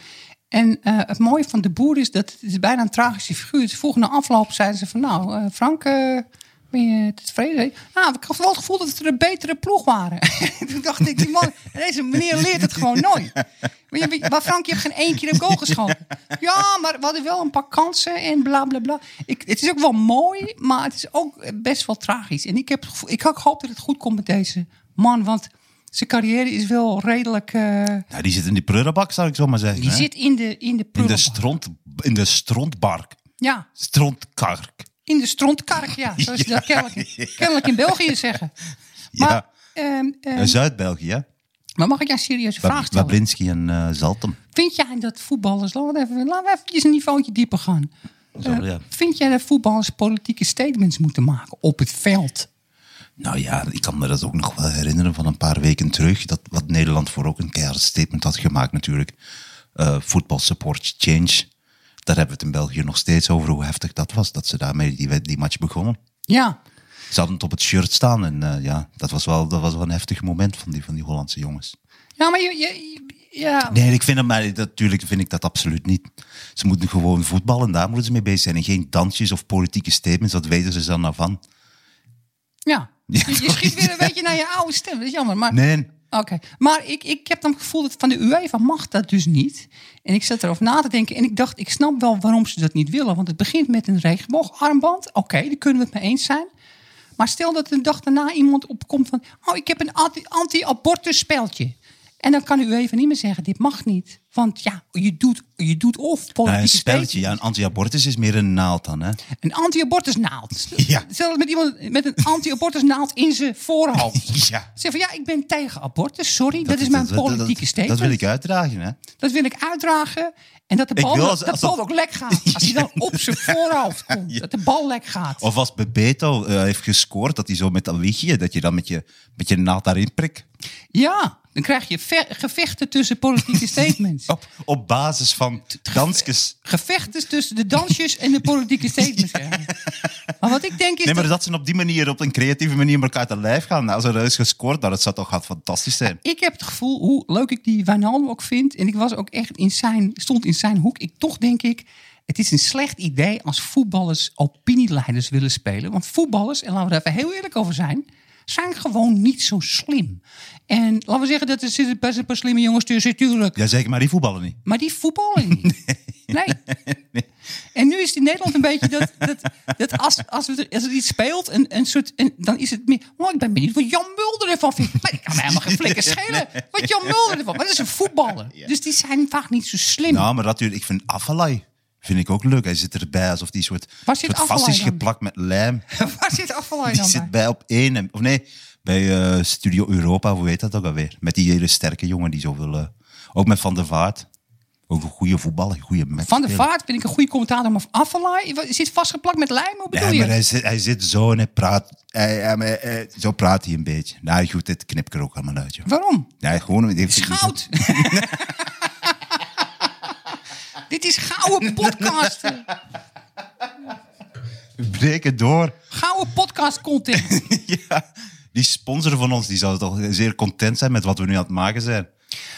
Speaker 3: En eh, het mooie van de boer is dat het is bijna een tragische figuur is. Vroeg na afloop zeiden ze van nou, eh, Frank, eh, ben je tevreden? Ah, ik had wel het gevoel dat het er een betere ploeg waren. Toen dacht ik, die man, deze meneer leert het gewoon nooit. Maar, je, hebt- maar Frank, je hebt geen één keer een goal geschoten. Ja, maar we hadden wel een paar kansen en bla bla bla. Ik, het is ook wel mooi, maar het is ook eh, best wel tragisch. En ik, heb, het gevoel- ik had gehoopt dat het goed komt met deze man, want zijn carrière is wel redelijk... eh,
Speaker 2: Nou, die zit in die prullenbak, zou ik zo maar zeggen.
Speaker 3: die
Speaker 2: hè?
Speaker 3: zit in de, in de
Speaker 2: in, de
Speaker 3: prullenbak.
Speaker 2: stront, in de strontbark.
Speaker 3: Ja,
Speaker 2: Strontkark.
Speaker 3: in de strontkark, ja. Zoals je dat kennelijk, kennelijk in België zeggen. Maar,
Speaker 2: Ja,
Speaker 3: ehm, ehm,
Speaker 2: eh, Zuid-België. hè?
Speaker 3: maar mag ik jou een serieuze
Speaker 2: Wa-
Speaker 3: vraag stellen?
Speaker 2: Wabrinski en eh Zaltem.
Speaker 3: Vind jij dat voetballers... Laten we even, laten we eventjes een niveautje dieper gaan.
Speaker 2: Zo,
Speaker 3: Eh,
Speaker 2: ja.
Speaker 3: Vind jij dat voetballers politieke statements moeten maken op het veld?
Speaker 2: Nou ja, ik kan me dat ook nog wel herinneren van een paar weken terug. Dat wat Nederland voor ook een keihard statement had gemaakt natuurlijk. Eh voetbal support change. Daar hebben we het in België nog steeds over hoe heftig dat was. Dat ze daarmee die, wed- die match begonnen.
Speaker 3: Ja,
Speaker 2: Ze hadden het op het shirt staan. En eh, ja, dat was, wel, dat was wel een heftig moment van die, van die Hollandse jongens.
Speaker 3: ja maar je... je- ja.
Speaker 2: Nee, ik vind dat, maar dat- natuurlijk vind ik dat absoluut niet. Ze moeten gewoon voetballen, daar moeten ze mee bezig zijn. En geen dansjes of politieke statements, dat weten ze dan nou van.
Speaker 3: ja.
Speaker 2: Ja,
Speaker 3: je, je schiet weer een beetje naar je oude stem. Dat is jammer. Maar,
Speaker 2: Nee,
Speaker 3: Oké, maar ik, ik heb dan het gevoel dat van de UEFA mag dat dus niet. En ik zat erover na te denken en ik dacht, ik snap wel waarom ze dat niet willen. Want het begint met een regenboogarmband. Oké, daar kunnen we het mee eens zijn. Maar stel dat een dag daarna iemand opkomt van... oh, ik heb een anti- anti-abortus speeltje. En dan kan u even niet meer zeggen, dit mag niet. Want ja, je doet, je doet
Speaker 2: nou,
Speaker 3: of
Speaker 2: een
Speaker 3: politieke
Speaker 2: spelletje.
Speaker 3: statement.
Speaker 2: Ja, een anti-abortus is meer een naald dan, hè?
Speaker 3: Een anti-abortus naald.
Speaker 2: Ja.
Speaker 3: Stel dat met iemand met een anti-abortus naald in zijn voorhoofd.
Speaker 2: Ja.
Speaker 3: Zeg van ja, ik ben tegen abortus, sorry. Dat, is mijn politieke
Speaker 2: dat-
Speaker 3: statement.
Speaker 2: Dat wil ik uitdragen, hè?
Speaker 3: Dat wil ik uitdragen. En dat de
Speaker 2: Ik
Speaker 3: bal,
Speaker 2: wil als-
Speaker 3: dat
Speaker 2: als
Speaker 3: de bal
Speaker 2: dat-
Speaker 3: ook lek gaat. Als hij dan op zijn voorhoofd komt. Dat de bal lek gaat.
Speaker 2: Of als Bebeto eh, heeft gescoord, dat hij zo met dat wiegje, dat je dan met je, met je naald daarin prikt.
Speaker 3: Ja, dan krijg je ve- gevechten tussen politieke statements.
Speaker 2: Op, op basis van dansjes.
Speaker 3: Gevechten tussen de dansjes en de politieke statements. ja. Maar wat ik denk is...
Speaker 2: Nee, maar
Speaker 3: dat-
Speaker 2: dat ze op die manier, op een creatieve manier, elkaar te lijf gaan. Nou, als er is gescoord, dan, dat zou toch gaat fantastisch zijn.
Speaker 3: Ik heb het gevoel, hoe leuk ik die Wijnaldum ook vind... en ik was ook echt in zijn, stond in zijn hoek. Ik, toch denk ik, het is een slecht idee als voetballers opinieleiders willen spelen. Want voetballers, en laten we daar even heel eerlijk over zijn... zijn gewoon niet zo slim. En laten we zeggen dat er zitten best een paar slimme jongens tussen, tuurlijk.
Speaker 2: Ja, zeker, maar die voetballen niet.
Speaker 3: Maar die voetballen niet. Nee. En nu is het in Nederland een beetje dat, dat, dat als, als, we er, als er iets speelt, een, een soort, een- dan is het meer. Oh, ik ben benieuwd wat Jan Mulder ervan vindt. Maar ik kan me helemaal geen flikker schelen. Wat Jan Mulder ervan. Maar dat is een voetballer. Dus die zijn vaak niet zo slim.
Speaker 2: Nou, maar natuurlijk, ik vind Afalai vind ik ook leuk. Hij zit erbij alsof die soort,
Speaker 3: Waar zit
Speaker 2: soort vast is
Speaker 3: Afellay dan?
Speaker 2: geplakt met lijm.
Speaker 3: Waar zit Afvalaai
Speaker 2: Die
Speaker 3: dan bij?
Speaker 2: zit bij op één. en- Of nee, bij eh, Studio Europa, hoe heet dat ook alweer? Met die hele sterke jongen die zoveel... eh, ook met Van der Vaart. Ook een goede voetballer, een goede match.
Speaker 3: Van der Vaart vind ik een goede commentator. Maar Afvalaai wat- zit vastgeplakt met lijm. Hoe bedoel
Speaker 2: Ja, maar eh,
Speaker 3: je?
Speaker 2: hij zit, hij zit zo en hij praat... hij- hij- hij- hij- zo praat hij een beetje. Nou goed, dit knip ik er ook allemaal uit. joh.
Speaker 3: Waarom?
Speaker 2: Ja, gewoon... die heeft-
Speaker 3: Het is goud. Dit is gouden podcast.
Speaker 2: We breken door.
Speaker 3: Gouden podcast content.
Speaker 2: ja. Die sponsor van ons, die zou toch zeer content zijn met wat we nu aan het maken zijn.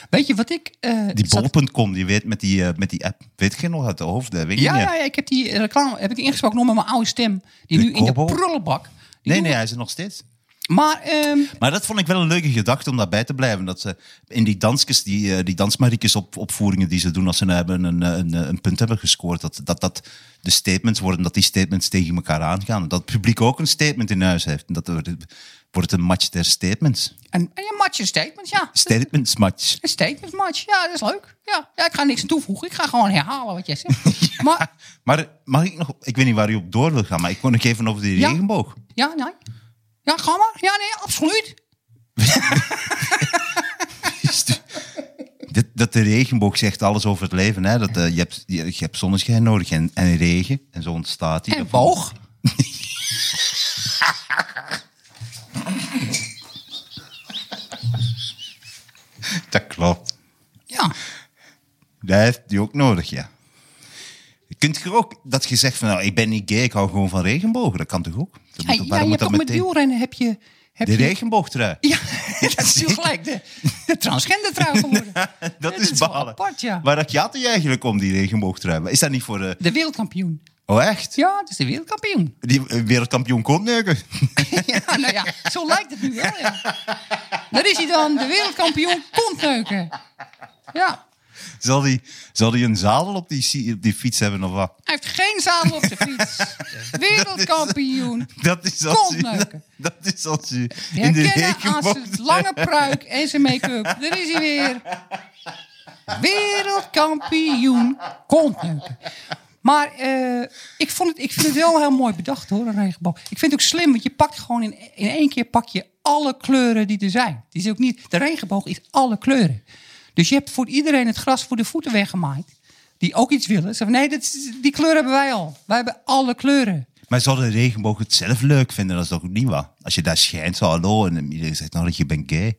Speaker 3: Weet je wat ik. eh,
Speaker 2: Die
Speaker 3: zat-
Speaker 2: bol.com, die weet met die, eh, met die app. Weet je nog uit de hoofd? Dat weet ik
Speaker 3: Ja,
Speaker 2: niet.
Speaker 3: ja, ja, ik heb die reclame heb ik ingesproken nog met mijn oude stem. Die
Speaker 2: De
Speaker 3: nu in de
Speaker 2: kobo?
Speaker 3: prullenbak. Die
Speaker 2: Nee,
Speaker 3: doen-
Speaker 2: nee, hij is er nog steeds.
Speaker 3: Maar ehm,
Speaker 2: Maar dat vond ik wel een leuke gedachte om daarbij te blijven. Dat ze in die dansjes, die, eh, die dansmariekjes op, opvoeringen die ze doen als ze nou hebben een, eh, een, eh, een punt hebben gescoord. Dat, dat dat de statements worden, dat die statements tegen elkaar aangaan. Dat het publiek ook een statement in huis heeft. En dat wordt het- wordt het een match der statements.
Speaker 3: een, een match, een statement, ja.
Speaker 2: Statements match.
Speaker 3: Een statement match, ja, dat is leuk. Ja. ja, ik ga niks aan toevoegen. Ik ga gewoon herhalen wat jij zegt. Maar
Speaker 2: Maar mag ik nog, ik weet niet waar u op door wil gaan, maar ik kon nog even over die
Speaker 3: Ja.
Speaker 2: regenboog.
Speaker 3: ja, nee. Ja, ga maar. Ja, nee, absoluut.
Speaker 2: Dit, Dus dat de regenboog zegt alles over het leven. Hè? Dat, eh, je, hebt, je, je hebt zonneschijn nodig en, en regen. En zo ontstaat die.
Speaker 3: En boog.
Speaker 2: Dat klopt.
Speaker 3: Ja.
Speaker 2: Dat heeft die ook nodig, ja. Kunt je ook dat je zegt van nou, ik ben niet gay, ik hou gewoon van regenbogen. Dat kan toch ook? Dat
Speaker 3: Ja,
Speaker 2: toch-
Speaker 3: ja, je hebt
Speaker 2: dat
Speaker 3: toch met wielrennen heb je, Heb
Speaker 2: De
Speaker 3: je-
Speaker 2: regenboogtrui.
Speaker 3: Ja, dat is natuurlijk gelijk de, de transgender trouw geworden.
Speaker 2: Dat
Speaker 3: dit
Speaker 2: is
Speaker 3: is wel
Speaker 2: balen.
Speaker 3: apart, ja.
Speaker 2: Waar gaat hij eigenlijk om, die regenboogtrui? Maar Is dat niet voor... eh,
Speaker 3: De wereldkampioen.
Speaker 2: Oh, echt?
Speaker 3: Ja, dat is de wereldkampioen.
Speaker 2: Die eh, wereldkampioen kontneuken?
Speaker 3: ja, nou ja, zo lijkt het nu wel, ja. Daar is hij dan, de wereldkampioen kontneuken. Ja,
Speaker 2: Zal die, zal die een zadel op die, si- op die fiets hebben of wat?
Speaker 3: hij heeft geen zadel op de fiets. Wereldkampioen
Speaker 2: Dat is als u, dat,
Speaker 3: Kontneuken.
Speaker 2: is als u in de
Speaker 3: Herkennen aan
Speaker 2: regenboog...
Speaker 3: zijn lange pruik en zijn make-up. Daar is hij weer. Wereldkampioen kontneuken. Maar eh, ik, vond het, ik vind het wel heel mooi bedacht hoor, een regenboog. Ik vind het ook slim, want je pakt gewoon in, in één keer pak je alle kleuren die er zijn. Het is ook niet, de regenboog is alle kleuren. Dus je hebt voor iedereen het gras voor de voeten weggemaaid. Die ook iets willen. Ze zeggen, nee, dat is- die kleur hebben wij al. Wij hebben alle kleuren.
Speaker 2: Maar zou de regenboog het zelf leuk vinden? Dat is toch niet waar? Als je daar schijnt, zo hallo, en iedereen zegt nou dat je bent gay.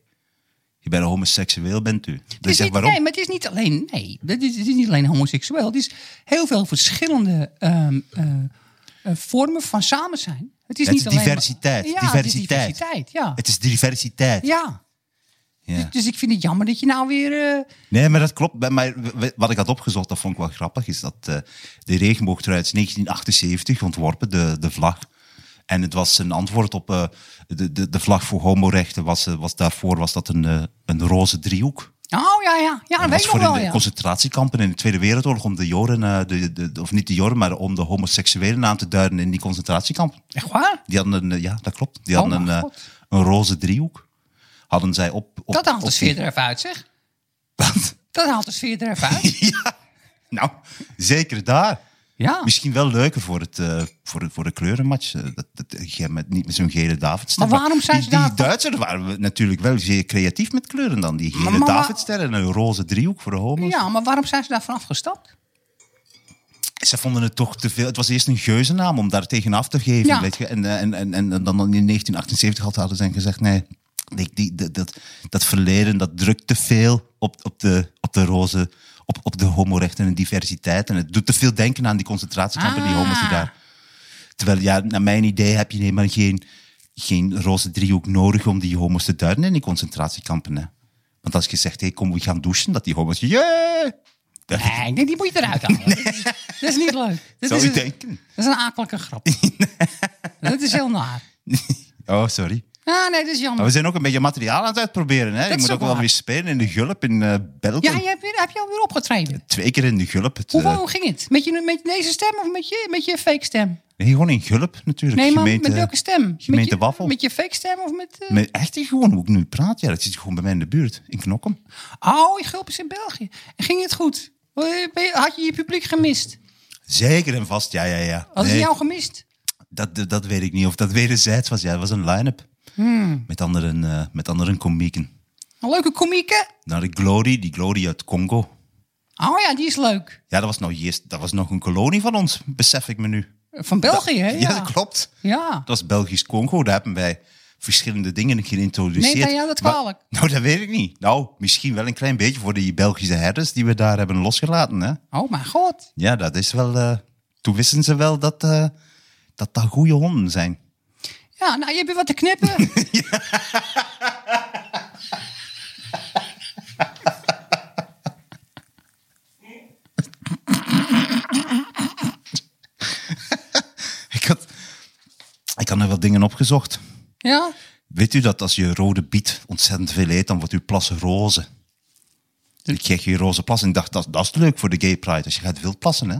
Speaker 2: Je bent homoseksueel, bent u. Dan
Speaker 3: Het is
Speaker 2: zeg
Speaker 3: niet,
Speaker 2: Dus waarom?
Speaker 3: Nee, maar het is niet alleen, nee, het is, het is niet alleen homoseksueel. Het is heel veel verschillende ehm, eh, eh, vormen van samen zijn. Het is
Speaker 2: Het
Speaker 3: niet
Speaker 2: is
Speaker 3: alleen maar-
Speaker 2: diversiteit,
Speaker 3: ja,
Speaker 2: diversiteit.
Speaker 3: Het is diversiteit, ja.
Speaker 2: Het is diversiteit.
Speaker 3: ja.
Speaker 2: Ja.
Speaker 3: Dus ik vind het jammer dat je nou weer... eh,
Speaker 2: Nee, maar dat klopt. Maar- Maar wat ik had opgezocht, dat vond ik wel grappig, is dat eh, de regenboogtrui uit 1978 ontworpen, de, de vlag. En het was een antwoord op eh, de, de, de vlag voor homorechten. Was, eh, was daarvoor was dat een, eh, een roze driehoek.
Speaker 3: oh ja, ja, ja, dat
Speaker 2: Dat
Speaker 3: weet
Speaker 2: was
Speaker 3: ik
Speaker 2: voor
Speaker 3: nog
Speaker 2: in
Speaker 3: wel,
Speaker 2: de
Speaker 3: ja.
Speaker 2: concentratiekampen in de Tweede Wereldoorlog om de Joren, eh, de, de- de- of niet de Joren, maar om de homoseksuelen aan te duiden in die concentratiekampen.
Speaker 3: Echt waar?
Speaker 2: Die hadden een, eh, ja, dat klopt. Die
Speaker 3: Oh,
Speaker 2: hadden een,
Speaker 3: mijn
Speaker 2: eh,
Speaker 3: God.
Speaker 2: een roze driehoek. Hadden zij op. op
Speaker 3: Dat haalt
Speaker 2: op
Speaker 3: de
Speaker 2: die-
Speaker 3: sfeer er even uit, zeg.
Speaker 2: Wat?
Speaker 3: Dat haalt de sfeer er even uit.
Speaker 2: ja, nou, zeker daar.
Speaker 3: Ja.
Speaker 2: Misschien wel leuker voor, het, eh, voor, de- voor de kleurenmatch. eh, dat, dat, jij met, niet met zo'n gele Davidster.
Speaker 3: Maar waarom zijn ze
Speaker 2: die, die
Speaker 3: daarvoor-
Speaker 2: Duitsers waren we natuurlijk wel zeer creatief met kleuren dan. Die
Speaker 3: Maar-
Speaker 2: gele
Speaker 3: maar-
Speaker 2: Davidster en een roze driehoek voor de homo's.
Speaker 3: ja, maar waarom zijn ze daarvan afgestapt?
Speaker 2: Ze vonden het toch te veel. Het was eerst een geuzennaam om daar tegenaf te geven.
Speaker 3: Ja.
Speaker 2: Weet je? En, eh, en, en, en dan in 1978 had- hadden ze gezegd: nee, die, die, dat- dat, dat verleden dat drukt te veel op, op, de, op de roze. Op, op de homorechten en diversiteit. En het doet te veel denken aan die concentratiekampen, die
Speaker 3: Ah.
Speaker 2: homo's die daar. Terwijl, ja, naar mijn idee heb je helemaal geen, geen roze driehoek nodig om die homo's te duiden in die concentratiekampen. Hè. Want als je zegt: hey, kom, we gaan douchen, dat die homo's. Yeah!
Speaker 3: Nee, ik denk, die moet je eruit halen. Dat is niet leuk. Dat
Speaker 2: Zou
Speaker 3: is
Speaker 2: je
Speaker 3: een-
Speaker 2: denken?
Speaker 3: Dat is een akelige grap. Dat is heel naar.
Speaker 2: Oh, sorry.
Speaker 3: Ah, nee, dat is
Speaker 2: Maar
Speaker 3: jammer.
Speaker 2: we zijn ook een beetje materiaal aan het uitproberen. Hè? Ik
Speaker 3: is
Speaker 2: moet
Speaker 3: ook
Speaker 2: ook wel
Speaker 3: waar.
Speaker 2: weer spelen in de Gulp in eh België.
Speaker 3: Ja, je hebt, heb je alweer opgetreden.
Speaker 2: Twee keer in de Gulp. Het,
Speaker 3: Hoe,
Speaker 2: eh,
Speaker 3: hoe ging het? Met, je, met deze stem of met je, met je fake stem?
Speaker 2: nee, gewoon in Gulp natuurlijk.
Speaker 3: Nee, maar
Speaker 2: Gemeente-
Speaker 3: met welke stem?
Speaker 2: gemeente
Speaker 3: met je,
Speaker 2: Waffel.
Speaker 3: Met je fake stem of met... eh,
Speaker 2: Met echt gewoon hoe ik nu praat. Ja, dat zit gewoon bij mij in de buurt. In Knokken.
Speaker 3: Oh, je gulp is in België. En ging het goed? Eh, ben je- Had je je publiek gemist?
Speaker 2: Zeker en vast, ja, ja, ja.
Speaker 3: Hadden
Speaker 2: Nee,
Speaker 3: ze jou gemist?
Speaker 2: dat, dat- dat weet ik niet. Of dat wederzijds was. Ja, dat was een line-up.
Speaker 3: Hmm.
Speaker 2: Met, andere, eh, met andere komieken.
Speaker 3: Een leuke komieken?
Speaker 2: Nou, de Glory, die Glory uit Congo.
Speaker 3: Oh ja, die is leuk.
Speaker 2: Ja, dat was, nou eerst, dat was nog een kolonie van ons, besef ik me nu.
Speaker 3: Van België, hè?
Speaker 2: ja dat klopt.
Speaker 3: Ja.
Speaker 2: Dat is Belgisch Congo. Daar hebben wij verschillende dingen geïntroduceerd.
Speaker 3: Neemt hij jou dat kwalijk?
Speaker 2: Maar- nou, dat weet ik niet. Nou, misschien wel een klein beetje voor die Belgische herders die we daar hebben losgelaten. Hè?
Speaker 3: Oh mijn god.
Speaker 2: Ja, dat is wel. eh, toen wisten ze wel dat eh, dat, dat goede honden zijn.
Speaker 3: Ja, nou, je hebt weer wat te knippen.
Speaker 2: Ik had, ik had er wat dingen opgezocht.
Speaker 3: ja?
Speaker 2: Weet u dat als je rode biet ontzettend veel eet, dan wordt uw plas roze? Ik kreeg je roze plas en ik dacht, dat, dat is leuk voor de gay pride. Als je gaat wild plassen, hè?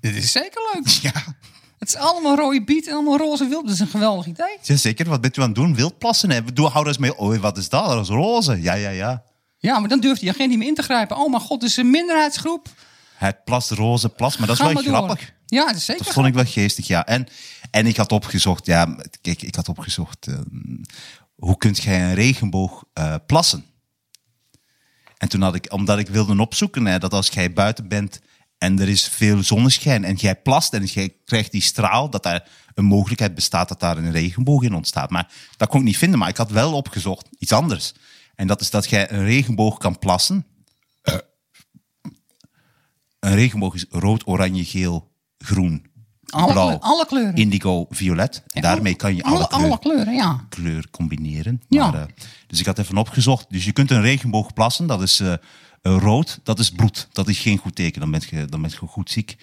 Speaker 3: Dit is zeker leuk.
Speaker 2: Ja.
Speaker 3: Het is allemaal rode biet en allemaal roze wild. Dat is een geweldig idee.
Speaker 2: Jazeker, wat bent u aan het doen? Wildplassen? Hè? Doe, hou eens mee. Oh, wat is dat? Dat is roze. Ja, ja, ja.
Speaker 3: Ja, maar dan durft die agent niet meer in te grijpen. Oh mijn god, het is een minderheidsgroep.
Speaker 2: Hij plast roze plas, maar dat is
Speaker 3: Ga
Speaker 2: wel
Speaker 3: maar door.
Speaker 2: grappig.
Speaker 3: Ja, dat is zeker.
Speaker 2: Dat vond ik wel geestig, ja. En, en ik had opgezocht, ja, kijk, ik had opgezocht, ehm, hoe kunt jij een regenboog eh, plassen? En toen had ik, omdat ik wilde opzoeken, hè, dat als jij buiten bent en er is veel zonneschijn en jij plast en jij krijgt die straal, dat daar een mogelijkheid bestaat dat daar een regenboog in ontstaat. Maar dat kon ik niet vinden, maar ik had wel opgezocht iets anders. En dat is dat jij een regenboog kan plassen. Eh, een regenboog is rood, oranje, geel, groen.
Speaker 3: Alle,
Speaker 2: blauw,
Speaker 3: kleur- alle kleuren.
Speaker 2: indigo, violet. En daarmee kan je alle,
Speaker 3: alle,
Speaker 2: kleuren,
Speaker 3: alle kleuren, ja.
Speaker 2: kleur combineren.
Speaker 3: Ja.
Speaker 2: Maar, eh, dus ik had even opgezocht. Dus je kunt een regenboog plassen, dat is eh, eh, rood, dat is bloed. Dat is geen goed teken, dan ben je, dan ben je goed ziek.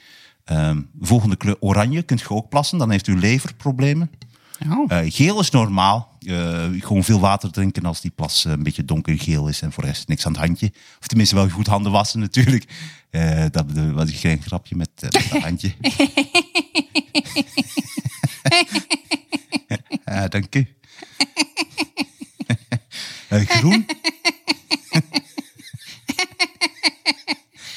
Speaker 2: Ehm, volgende kleur, oranje, kunt je ook plassen, dan heeft u leverproblemen.
Speaker 3: Ja.
Speaker 2: Eh, geel is normaal. Eh, gewoon veel water drinken als die plas eh, een beetje donkergeel is en voor de rest niks aan het handje. Of tenminste wel goed handen wassen natuurlijk. Eh, dat bedoel- was geen grapje met, eh, met dat handje. Ah, dank u. Eh, groen.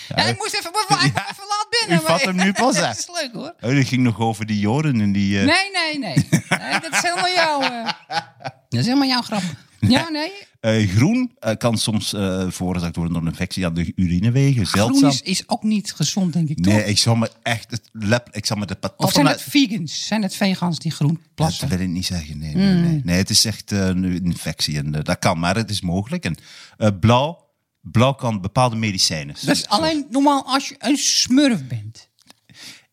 Speaker 3: Ja, ik moest even, even, even laat binnen.
Speaker 2: eh, u vat hem nu pas, hè?
Speaker 3: Dat is leuk hoor.
Speaker 2: Oh, dat ging nog over die Joren en die... eh,
Speaker 3: Nee, nee, nee. Nee, dat is helemaal jouw... eh, dat is helemaal jouw grap. Ja, nee.
Speaker 2: eh, groen eh, kan soms eh veroorzaakt worden door een infectie aan de urinewegen.
Speaker 3: Groen
Speaker 2: Zeldzaam.
Speaker 3: is, is ook niet gezond, denk ik, toch?
Speaker 2: Nee, ik zal me echt... Het lep, ik zal me de
Speaker 3: Of
Speaker 2: patoffel...
Speaker 3: zijn
Speaker 2: uit-
Speaker 3: het vegans? Zijn het vegans die groen plassen? Hmm.
Speaker 2: Dat wil ik niet zeggen. Nee, nee, nee. nee het is echt eh, een infectie. En, eh, dat kan, maar het is mogelijk. En, eh, blauw, blauw kan bepaalde medicijnen.
Speaker 3: Dat is Dus alleen normaal als je een smurf bent.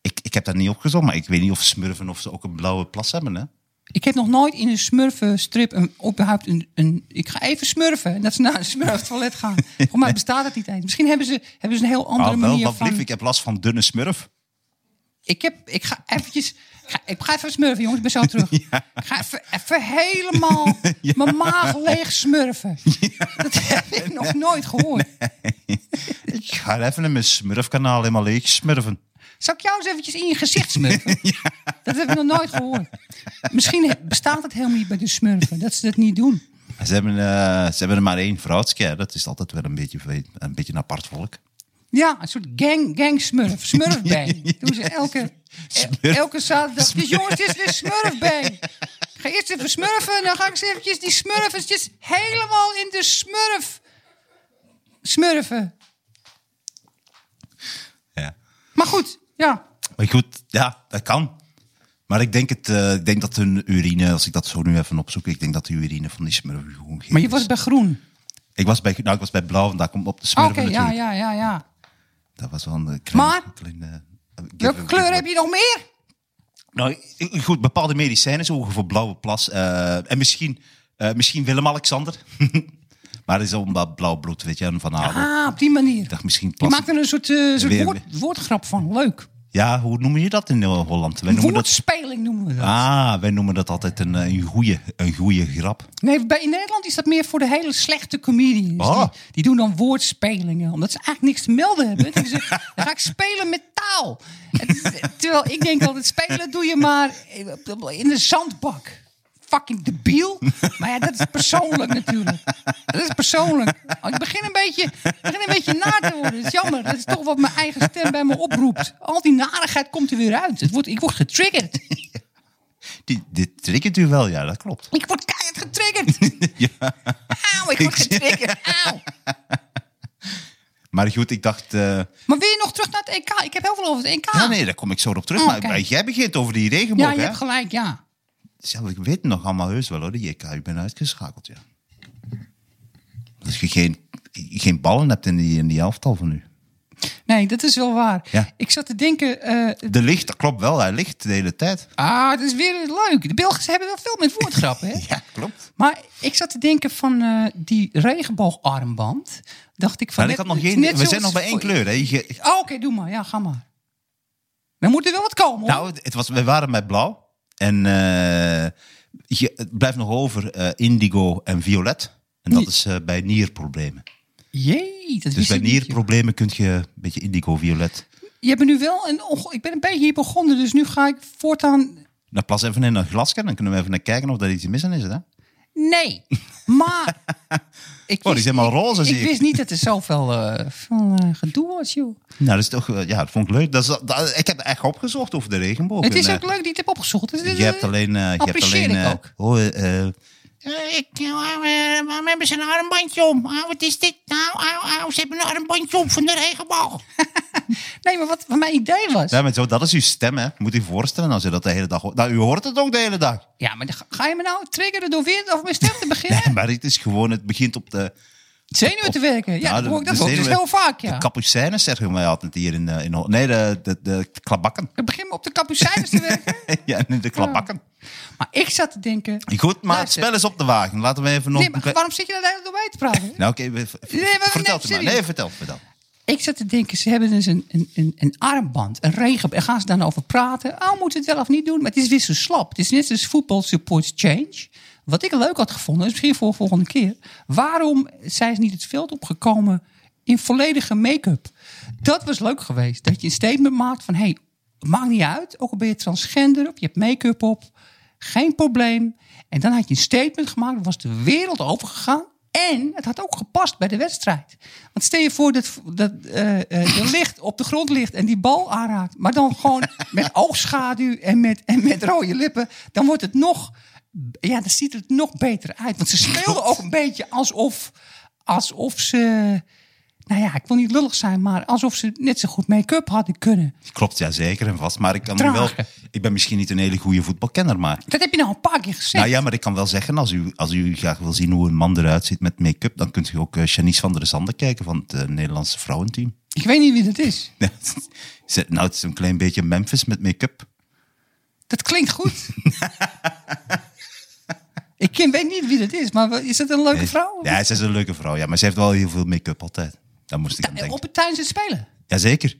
Speaker 2: Ik, ik heb dat niet opgezocht, maar ik weet niet of smurfen of ze ook een blauwe plas hebben. Hè?
Speaker 3: Ik heb nog nooit in een smurfenstrip een, überhaupt een, een... Ik ga even smurfen. En dat ze naar een smurftoilet gaan. Voor mij bestaat dat niet eens. Misschien hebben ze, hebben ze een heel andere
Speaker 2: Ah, wel,
Speaker 3: manier
Speaker 2: wat
Speaker 3: van...
Speaker 2: lief, ik heb last van dunne smurf.
Speaker 3: Ik, heb, ik ga eventjes... Ik ga, ik ga even smurfen, jongens. Ik ben zo terug. Ik ga even, even helemaal mijn maag leeg smurfen. Dat heb ik nog nooit gehoord.
Speaker 2: Ik ga even in mijn smurfkanaal helemaal leeg smurfen.
Speaker 3: Zou ik jou eens eventjes in je gezicht smurfen? Dat heb ik nog nooit gehoord. Misschien he- bestaat het helemaal niet bij de smurfen. Dat ze dat niet doen.
Speaker 2: Ze hebben, eh, ze hebben er maar één vrouwtje. hè. Dat is altijd wel een beetje, een beetje een apart volk.
Speaker 3: Ja, een soort gang, gang smurf. Smurfbang. Doen ze elke,
Speaker 2: Smurf.
Speaker 3: elke zaterdag. Dus jongens, dit is weer smurfbang. Ik ga eerst even smurfen. En dan ga ik eens eventjes die smurfjes helemaal in de smurf. Smurfen.
Speaker 2: Ja.
Speaker 3: Maar goed, ja.
Speaker 2: Maar goed, ja, dat kan. Maar ik denk, het, eh, ik denk dat hun urine, als ik dat zo nu even opzoek, ik denk dat de urine van die smurf gewoon geel
Speaker 3: Maar je
Speaker 2: is.
Speaker 3: was bij groen.
Speaker 2: Ik was bij, nou, ik was bij blauw en daar komt op de
Speaker 3: Ah, Oké,
Speaker 2: smurf
Speaker 3: ja,
Speaker 2: natuurlijk.
Speaker 3: ja, ja, ja.
Speaker 2: Dat was wel een klein,
Speaker 3: Maar-
Speaker 2: kleine- eh,
Speaker 3: Welke kleur heb je nog meer?
Speaker 2: Nou, goed, bepaalde medicijnen zorgen voor blauwe plas. eh, en misschien, eh, misschien Willem-Alexander. maar dat is omdat blauw bloed, weet je, en van Adel.
Speaker 3: Ah, op die manier.
Speaker 2: Ik dacht misschien
Speaker 3: Je
Speaker 2: plas.
Speaker 3: maakt er een soort, eh, soort
Speaker 2: Weer-
Speaker 3: woord- woordgrap van. Leuk.
Speaker 2: Ja, hoe noem je dat in eh, Holland? Wij noemen dat...
Speaker 3: Woordspeling noemen we dat.
Speaker 2: Ah, wij noemen dat altijd een, eh, een, goeie, een goeie grap.
Speaker 3: Nee, bij, in Nederland is dat meer voor de hele slechte comedians.
Speaker 2: Ah.
Speaker 3: Die, die doen dan woordspelingen, omdat ze eigenlijk niks te melden hebben. Dan, zeggen ze, dan ga ik spelen met taal. En- Terwijl ik denk altijd, spelen doe je maar in een zandbak. Fucking debiel. Maar ja, dat is persoonlijk natuurlijk. Dat is persoonlijk. Oh, Ik begin een beetje, ik begin een beetje naar te worden. Dat is jammer. Dat is toch wat mijn eigen stem bij me oproept. Al die narigheid komt er weer uit. Het wordt, ik word getriggerd.
Speaker 2: Die, dit triggert u wel, ja, dat klopt.
Speaker 3: Ik word keihard getriggerd. Auw, ik word getriggerd. Auw.
Speaker 2: Maar goed, ik dacht... eh,
Speaker 3: Maar wil je nog terug naar het EK? Ik heb heel veel over het EK.
Speaker 2: Ja, nee, daar kom ik zo op terug.
Speaker 3: Oh,
Speaker 2: maar
Speaker 3: Ah. oké.
Speaker 2: maar jij begint over die regenboog,
Speaker 3: Ja, je
Speaker 2: hè?
Speaker 3: hebt gelijk, ja.
Speaker 2: Zelf, ik weet het nog allemaal heus wel, hoor. Die JK, ik ben uitgeschakeld, ja. Dus je geen, geen ballen hebt in die, in die elftal van nu.
Speaker 3: Nee, dat is wel waar.
Speaker 2: Ja.
Speaker 3: Ik zat te denken, eh,
Speaker 2: De licht, dat klopt wel. Hij ligt de hele tijd.
Speaker 3: ah, dat is weer leuk. De Belgen ze hebben wel veel met woordgrappen, hè?
Speaker 2: Ja, klopt.
Speaker 3: Maar ik zat te denken van eh, die regenboogarmband. Dacht ik van...
Speaker 2: Maar ik Nou, had nog
Speaker 3: net-
Speaker 2: geen...
Speaker 3: net
Speaker 2: We zijn
Speaker 3: zoals-
Speaker 2: nog bij één kleur, hè. Je-
Speaker 3: Oh, oké, doe maar. Ja, ga maar. Dan moet er wel wat komen, hoor.
Speaker 2: nou, het- het was, we waren bij blauw. En eh, je, het blijft nog over eh, indigo en violet. En dat
Speaker 3: Nee.
Speaker 2: is eh, bij nierproblemen.
Speaker 3: Jee, dat
Speaker 2: Dus
Speaker 3: wist
Speaker 2: bij
Speaker 3: ik niet, joh.
Speaker 2: nierproblemen kun je een beetje indigo-violet...
Speaker 3: Je hebt me nu wel een... onge- ik ben een beetje hier begonnen, dus nu ga ik voortaan...
Speaker 2: Dan plas Nou, even in een glasje, dan kunnen we even naar kijken of daar iets mis aan is. Hè? Nou,
Speaker 3: Nee, maar... Ik
Speaker 2: Oh, die
Speaker 3: wist-
Speaker 2: zijn maar roze,
Speaker 3: Ik
Speaker 2: zie ik.
Speaker 3: wist niet dat er zoveel eh, veel, eh, gedoe was, joh.
Speaker 2: Nou, dat is toch, eh, ja, dat vond ik leuk. Dat is, dat- ik heb echt opgezocht over de regenboog.
Speaker 3: het is
Speaker 2: En,
Speaker 3: ook
Speaker 2: eh,
Speaker 3: leuk dat je het hebt opgezocht. Het is-
Speaker 2: Je hebt alleen, eh, je hebt
Speaker 3: Apprecieer
Speaker 2: alleen.
Speaker 3: ik
Speaker 2: eh,
Speaker 3: ook.
Speaker 2: oh, eh, eh,
Speaker 4: Eh, Ik, eh, waarom, eh, waarom hebben ze een armbandje om?
Speaker 2: Oh,
Speaker 4: Ah, wat is dit nou? Au, au, ze hebben een armbandje om van de regenboog.
Speaker 3: Nee, maar wat, wat mijn idee was...
Speaker 2: ja, maar zo, dat is uw stem, hè? Moet je voorstellen als je dat de hele dag hoort. Nou, u hoort het ook de hele dag.
Speaker 3: Ja, maar dan ga- ga je me nou triggeren door weer over mijn stem te beginnen?
Speaker 2: Maar het is gewoon, het begint op de,
Speaker 3: Zenuwen te werken. Ja,
Speaker 2: Nou,
Speaker 3: dat hoor ik dat
Speaker 2: de
Speaker 3: hoor ik dus
Speaker 2: zenuwen-
Speaker 3: heel vaak, ja.
Speaker 2: De kapucijnen zeggen wij altijd hier in, eh, in Holland. Nee, de, de, de klabakken.
Speaker 3: Ik begin op de kapucijners te werken.
Speaker 2: ja, nee, de klabakken.
Speaker 3: Maar ik zat te denken...
Speaker 2: Goed, maar
Speaker 3: Luister.
Speaker 2: het spel is op de wagen. Laten we even nog...
Speaker 3: Nee, maar waarom zit je daar de hele tijd doorheen te praten?
Speaker 2: Nou, oké, we- v-
Speaker 3: Nee, maar
Speaker 2: vertel
Speaker 3: nee,
Speaker 2: het maar.
Speaker 3: serieus.
Speaker 2: Nee, vertel, vertel.
Speaker 3: Ik zat te denken, ze hebben dus een, een, een, een armband, een regen. En gaan ze dan over praten? Oh, moeten we het wel of niet doen? Maar het is weer zo slap. Het is net als voetbal support change. Wat ik leuk had gevonden, is misschien voor de volgende keer. Waarom zijn ze niet het veld opgekomen in volledige make-up? Dat was leuk geweest. Dat je een statement maakt van, hé, hey, maakt niet uit. Ook al ben je transgender of je hebt make-up op. Geen probleem. En dan had je een statement gemaakt. Dan was de wereld overgegaan. En het had ook gepast bij de wedstrijd. Want stel je voor dat, dat eh, eh, de licht op de grond ligt en die bal aanraakt. Maar dan gewoon met oogschaduw en met, en met rode lippen. Dan wordt het nog. Ja, dan ziet het nog beter uit. Want ze speelden ook een beetje alsof, alsof ze. Nou ja, ik wil niet lullig zijn, maar alsof ze net zo goed make-up hadden kunnen.
Speaker 2: Klopt, ja, zeker en vast. Maar ik kan nu
Speaker 3: Trager.
Speaker 2: wel... Ik ben misschien niet een hele goede voetbalkenner, maar...
Speaker 3: Dat heb je nou een paar keer gezegd.
Speaker 2: Nou ja, maar ik kan wel zeggen, als u, als u graag wil zien hoe een man eruit ziet met make-up, dan kunt u ook eh, Janice van der Zanden kijken van het eh, Nederlandse vrouwenteam.
Speaker 3: Ik weet niet wie dat is.
Speaker 2: Ze- nou, het is een klein beetje Memphis met make-up.
Speaker 3: Dat klinkt goed. ik ken, weet niet wie dat is, maar wat- is dat een leuke vrouw?
Speaker 2: Ja, ze is een leuke vrouw, ja, maar ze heeft wel heel veel make-up altijd. Daar moest ik aan denken.
Speaker 3: Op het tijdens het spelen.
Speaker 2: Jazeker.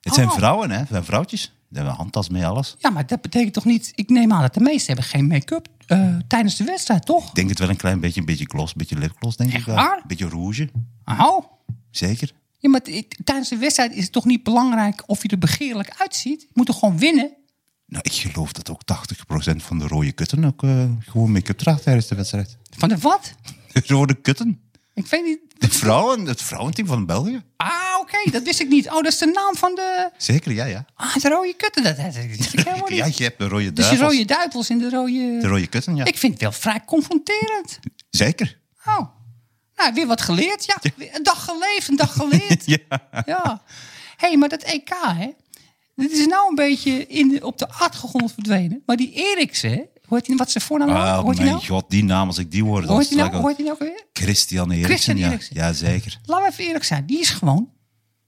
Speaker 2: Het zijn
Speaker 3: Oh.
Speaker 2: vrouwen, hè? Het zijn vrouwtjes. Ze hebben een handtas mee, alles.
Speaker 3: Ja, maar dat betekent toch niet... Ik neem aan dat de meesten hebben geen make-up eh, tijdens de wedstrijd, toch?
Speaker 2: Ik denk het wel een klein beetje, een beetje gloss, een beetje lipgloss, denk ik wel.
Speaker 3: waar?
Speaker 2: Een beetje rouge,
Speaker 3: Oh.
Speaker 2: zeker.
Speaker 3: Ja, maar t- tijdens de wedstrijd is het toch niet belangrijk of je er begeerlijk uitziet? Je moet toch gewoon winnen?
Speaker 2: Nou, ik geloof dat ook 80% van de rode kutten ook eh, gewoon make-up draagt tijdens de wedstrijd.
Speaker 3: Van de wat?
Speaker 2: De rode kutten?
Speaker 3: Ik weet niet...
Speaker 2: De vrouwen, het vrouwenteam van België.
Speaker 3: Ah, oké, dat wist ik niet. Oh, dat is de naam van de...
Speaker 2: Zeker, ja, ja.
Speaker 3: Ah, de rode kutten. Dat, dat, dat wist ik helemaal
Speaker 2: Ja,
Speaker 3: niet.
Speaker 2: je hebt de rode
Speaker 3: Dus
Speaker 2: duivels.
Speaker 3: de rode duivels en de rode...
Speaker 2: De rode kutten, ja.
Speaker 3: Ik vind het wel vrij confronterend.
Speaker 2: Zeker.
Speaker 3: Oh, nou, weer wat geleerd. Ja, weer een dag geleefd, een dag geleerd. ja. Hé, hey, maar dat EK, hè? Dit is nou een beetje in de, op de achtergrond verdwenen. Maar die Eriksen, hè, hoort hij wat ze voornaam nou?
Speaker 2: Ah,
Speaker 3: hoort hij
Speaker 2: mijn
Speaker 3: nou?
Speaker 2: god, die naam, als ik die hoor, dan
Speaker 3: Hoort hij
Speaker 2: sta ik
Speaker 3: nou?
Speaker 2: al-
Speaker 3: Hoort hij nou ook weer?
Speaker 2: Christian Eriksen,
Speaker 3: Christian
Speaker 2: ja.
Speaker 3: Eriksen.
Speaker 2: Ja, zeker.
Speaker 3: Laten we even eerlijk zijn. Die is gewoon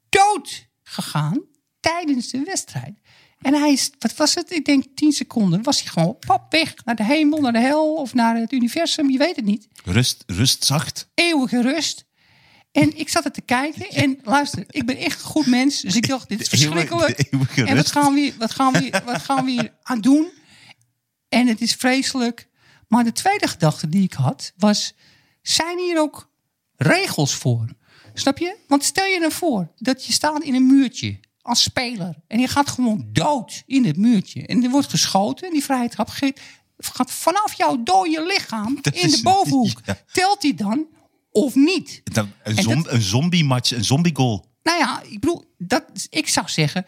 Speaker 3: dood gegaan tijdens de wedstrijd. En hij is, wat was het? Ik denk 10 seconden. Was hij gewoon pap weg naar de hemel, naar de hel of naar het universum? Je weet het niet.
Speaker 2: Rust, rust zacht.
Speaker 3: eeuwige rust. En ik zat er te kijken en luister, ik ben echt een goed mens. Dus ik dacht, dit is
Speaker 2: De eeuwige-
Speaker 3: verschrikkelijk.
Speaker 2: de eeuwige
Speaker 3: En wat
Speaker 2: rust.
Speaker 3: gaan, we, hier- wat, gaan we, hier- wat gaan we hier aan doen? En het is vreselijk. Maar de tweede gedachte die ik had was, zijn hier ook regels voor? Snap je? Want stel je nou voor dat je staat in een muurtje als speler. En je gaat gewoon dood in het muurtje. En er wordt geschoten en die vrijheid gaat vanaf jouw dode lichaam
Speaker 2: Dat
Speaker 3: in de
Speaker 2: is-
Speaker 3: bovenhoek.
Speaker 2: ja.
Speaker 3: Telt die dan of niet?
Speaker 2: Dan, een,
Speaker 3: En
Speaker 2: zom,
Speaker 3: dat-
Speaker 2: een zombie-match, een zombie-goal.
Speaker 3: Nou ja, ik bedoel, dat, ik zou zeggen,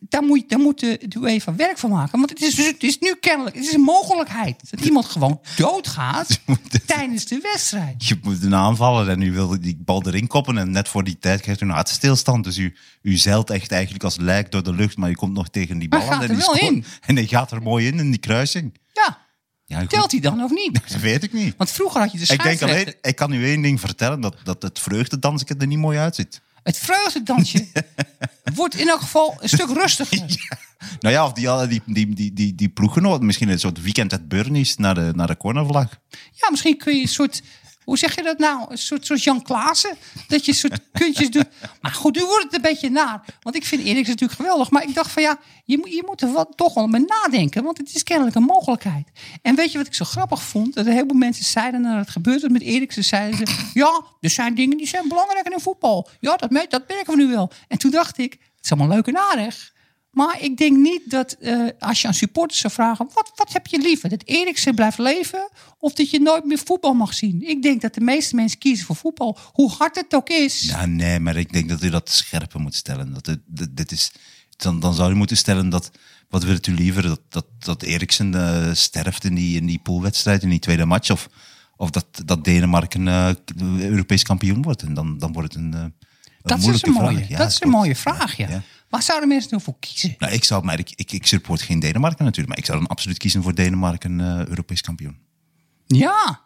Speaker 3: daar moet, daar moet de, de UEFA werk van maken. Want het is, het is nu kennelijk, het is een mogelijkheid dat iemand gewoon doodgaat tijdens de wedstrijd.
Speaker 2: Je moet een aanvaller en u wil die bal erin koppen. En net voor die tijd krijgt u een hartstilstand. Dus u, u zeilt echt eigenlijk als lijk door de lucht. Maar u komt nog tegen die
Speaker 3: Maar
Speaker 2: bal aan.
Speaker 3: gaat
Speaker 2: en
Speaker 3: er
Speaker 2: die
Speaker 3: wel
Speaker 2: scoort.
Speaker 3: in.
Speaker 2: En hij gaat er mooi in, in die kruising.
Speaker 3: Ja,
Speaker 2: Ja, goed,
Speaker 3: telt hij dan of niet?
Speaker 2: dat weet ik niet.
Speaker 3: Want vroeger had je de
Speaker 2: Ik, denk
Speaker 3: scheidsrechter.
Speaker 2: alleen, ik kan u één ding vertellen, dat, dat het vreugdedansje er niet mooi uitziet.
Speaker 3: Het vreugdedansje wordt in elk geval een stuk rustiger.
Speaker 2: Nou ja, of die, die, die, die, die, die ploeggenoten, misschien een soort weekend uit Burnies naar de, naar de cornervlag.
Speaker 3: Ja, misschien kun je een soort. Hoe zeg je dat nou? Een soort, soort Jan Klaassen. Dat je een soort kuntjes doet. Maar goed, nu wordt het een beetje naar. Want ik vind Eriks natuurlijk geweldig. Maar ik dacht van ja, je, moet- je moet er wel, toch wel mee nadenken. Want het is kennelijk een mogelijkheid. En weet je wat ik zo grappig vond? Dat een heleboel mensen zeiden nadat het gebeurde met Eriksen. Zeiden ze, ja, er zijn dingen die zijn belangrijker in voetbal. Ja, dat, me- dat merken we nu wel. En toen dacht ik, het is allemaal leuk en aardig. Maar ik denk niet dat eh, als je aan supporters zou vragen: wat, wat heb je liever? Dat Eriksen blijft leven of dat je nooit meer voetbal mag zien? Ik denk dat de meeste mensen kiezen voor voetbal, hoe hard het ook is.
Speaker 2: Ja, nee, maar ik denk dat u dat scherper moet stellen. Dat dit, dit, dit is, dan, dan zou u moeten stellen dat, wat wilt u liever, dat, dat, dat Eriksen eh, sterft in die, in die poolwedstrijd, in die tweede match, of, of dat, dat Denemarken eh, Europees kampioen wordt. En dan, dan wordt het een, eh, een
Speaker 3: dat, is
Speaker 2: moeilijke
Speaker 3: een mooie,
Speaker 2: vraag. Ja,
Speaker 3: dat is een
Speaker 2: klopt.
Speaker 3: mooie vraag, ja.
Speaker 2: ja.
Speaker 3: Waar zouden mensen nou voor kiezen?
Speaker 2: Nou, ik zou, maar ik, ik, ik support geen Denemarken natuurlijk, maar ik zou dan absoluut kiezen voor Denemarken eh, Europees kampioen.
Speaker 3: Ja,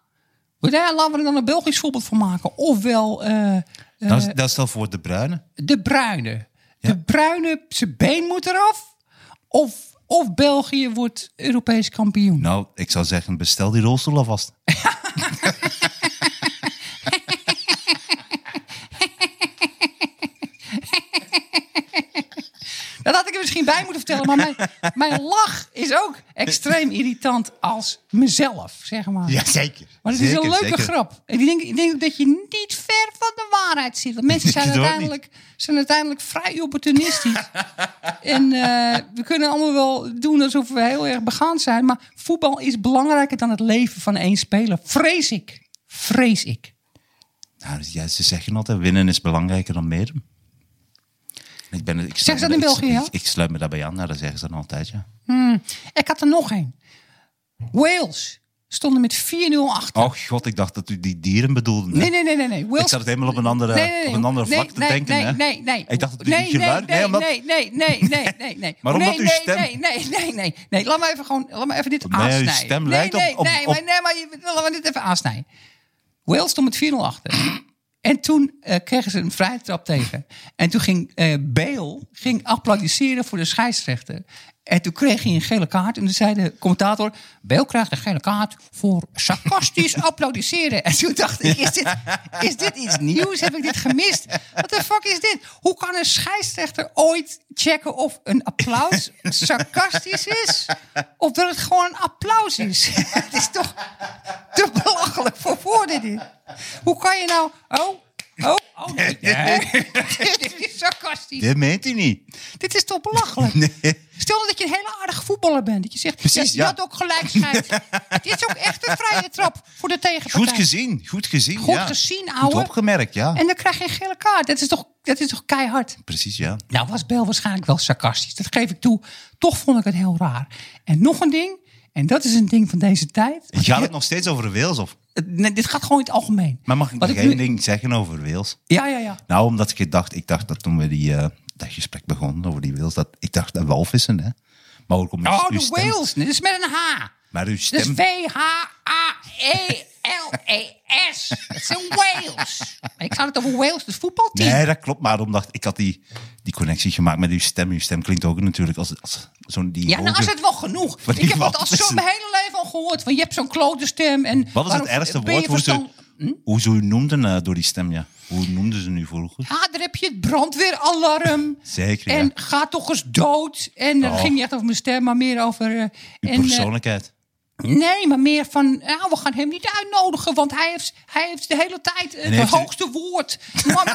Speaker 3: Maar Daar laten we er dan een Belgisch voorbeeld van maken. Ofwel eh, eh,
Speaker 2: Dan, dan stel voor de bruine.
Speaker 3: de Bruine. De Bruine, zijn been moet eraf. Of, of België wordt Europees kampioen.
Speaker 2: Nou, ik zou zeggen, bestel die rolstoel alvast.
Speaker 3: Dat had ik er misschien bij moeten vertellen. Maar mijn, mijn lach is ook extreem irritant als mezelf, zeg maar.
Speaker 2: zeker.
Speaker 3: Maar het is een leuke grap. Ik denk, ik denk dat je niet ver van de waarheid zit. Want mensen zijn
Speaker 2: Ik doe het
Speaker 3: uiteindelijk, zijn uiteindelijk vrij opportunistisch. en eh, we kunnen allemaal wel doen alsof we heel erg begaan zijn. Maar voetbal is belangrijker dan het leven van één speler. Vrees ik. Vrees ik.
Speaker 2: Nou, ja, ze zeggen altijd, winnen is belangrijker dan meedoen. Ik ben, ik
Speaker 3: Zeggen ze dat in
Speaker 2: ik-
Speaker 3: België,
Speaker 2: Ik,
Speaker 3: ja?
Speaker 2: ik sluit me daarbij aan, nou, dat zeggen ze dan altijd, ja.
Speaker 3: Ik had er nog één. Wales stonden met 4-0 achter.
Speaker 2: Oh god, ik dacht dat u die dieren bedoelde. hè?
Speaker 3: Nee, nee, nee, nee. nee. Wales
Speaker 2: Ik zat het helemaal op een andere, op een andere vlak te
Speaker 3: nee,
Speaker 2: denken,
Speaker 3: nee,
Speaker 2: hè?
Speaker 3: Nee, nee,
Speaker 2: Ik dacht dat u
Speaker 3: nee,
Speaker 2: die geluid...
Speaker 3: Nee, nee,
Speaker 2: omdat-
Speaker 3: nee, nee, nee, nee, nee, nee.
Speaker 2: Maar
Speaker 3: nee,
Speaker 2: omdat uw
Speaker 3: nee,
Speaker 2: stem-
Speaker 3: Nee, nee, nee, nee, nee. Laat maar even, gewoon, laat maar even dit
Speaker 2: Nee, uw
Speaker 3: aansnijden.
Speaker 2: stem
Speaker 3: nee,
Speaker 2: lijkt op-
Speaker 3: nee,
Speaker 2: op- op-
Speaker 3: Nee, maar, nee, maar je- laat maar dit even aansnijden. Wales stond met 4-0 achter. En toen eh, kregen ze een vrije trap tegen. En toen ging eh Bale ging applaudisseren voor de scheidsrechter. En toen kreeg hij een gele kaart. En toen zei de commentator... Bale krijgt een gele kaart voor sarcastisch applaudisseren. En toen dacht ik, is dit, is dit iets nieuws? Heb ik dit gemist? Wat de fuck is dit? Hoe kan een scheidsrechter ooit checken of een applaus sarcastisch is? Of dat het gewoon een applaus is? Het is toch te belachelijk voor woorden dit. Hoe kan je nou... Oh, oh, oh. Nee. dit is sarcastisch.
Speaker 2: Dit meent hij niet.
Speaker 3: Dit is toch belachelijk? Stel dat je een hele aardige voetballer bent. Dat je zegt,
Speaker 2: Precies,
Speaker 3: ja, je
Speaker 2: ja.
Speaker 3: had ook gelijk schijt. Het is ook echt een vrije trap voor de tegenpartij.
Speaker 2: Goed gezien, goed gezien.
Speaker 3: Goed
Speaker 2: ja.
Speaker 3: gezien,
Speaker 2: Goed
Speaker 3: ouwe.
Speaker 2: opgemerkt, ja.
Speaker 3: En dan krijg je een gele kaart. Dat is toch, dat is toch keihard?
Speaker 2: Precies, ja.
Speaker 3: Nou was Bel waarschijnlijk wel sarcastisch. Dat geef ik toe. Toch vond ik het heel raar. En nog een ding. En dat is een ding van deze tijd.
Speaker 2: Je gaat het nog steeds over Wales, of?
Speaker 3: Nee, dit gaat gewoon in het algemeen.
Speaker 2: Maar mag ik
Speaker 3: Wat
Speaker 2: nog
Speaker 3: ik nu-
Speaker 2: één ding zeggen over Wales?
Speaker 3: Ja, ja, ja.
Speaker 2: Nou, omdat ik gedacht, ik dacht dat toen we die, eh, dat gesprek begonnen over die Wales, dat ik dacht aan walvissen, hè. Maar ook om uw-
Speaker 3: Oh,
Speaker 2: uw
Speaker 3: de
Speaker 2: stem-
Speaker 3: Wales. Dit is met een H.
Speaker 2: Maar uw
Speaker 3: Dit is
Speaker 2: stem,
Speaker 3: W-H-A-E-L-E-S. Het is een Wales. Ik had het over Wales, het voetbalteam.
Speaker 2: nee, dat klopt. Maar omdat ik had die, die connectie gemaakt met uw stem. Uw stem klinkt ook natuurlijk als, als zo'n die
Speaker 3: Ja, nou
Speaker 2: hoge-
Speaker 3: is het wel
Speaker 2: Wat
Speaker 3: genoeg. Ik heb het
Speaker 2: iemand
Speaker 3: al
Speaker 2: is
Speaker 3: zo
Speaker 2: een-
Speaker 3: mijn hele leven al gehoord. Van je hebt zo'n klote stem. En
Speaker 2: Wat is
Speaker 3: waarom-
Speaker 2: het ergste
Speaker 3: ben je
Speaker 2: woord hoe ze,
Speaker 3: verstand- Hm?
Speaker 2: hoe ze u noemden eh, door die stem, ja? Hoe noemden ze nu vroeger?
Speaker 3: Ja, daar heb je het brandweeralarm.
Speaker 2: Zeker,
Speaker 3: En
Speaker 2: ja.
Speaker 3: ga toch eens dood. En dat
Speaker 2: Oh.
Speaker 3: ging niet echt over mijn stem, maar meer over... eh,
Speaker 2: Uw
Speaker 3: en, eh,
Speaker 2: persoonlijkheid.
Speaker 3: nee, maar meer van, nou, we gaan hem niet uitnodigen. Want hij heeft, hij heeft de hele tijd eh, het
Speaker 2: heeft u-
Speaker 3: hoogste woord. Man,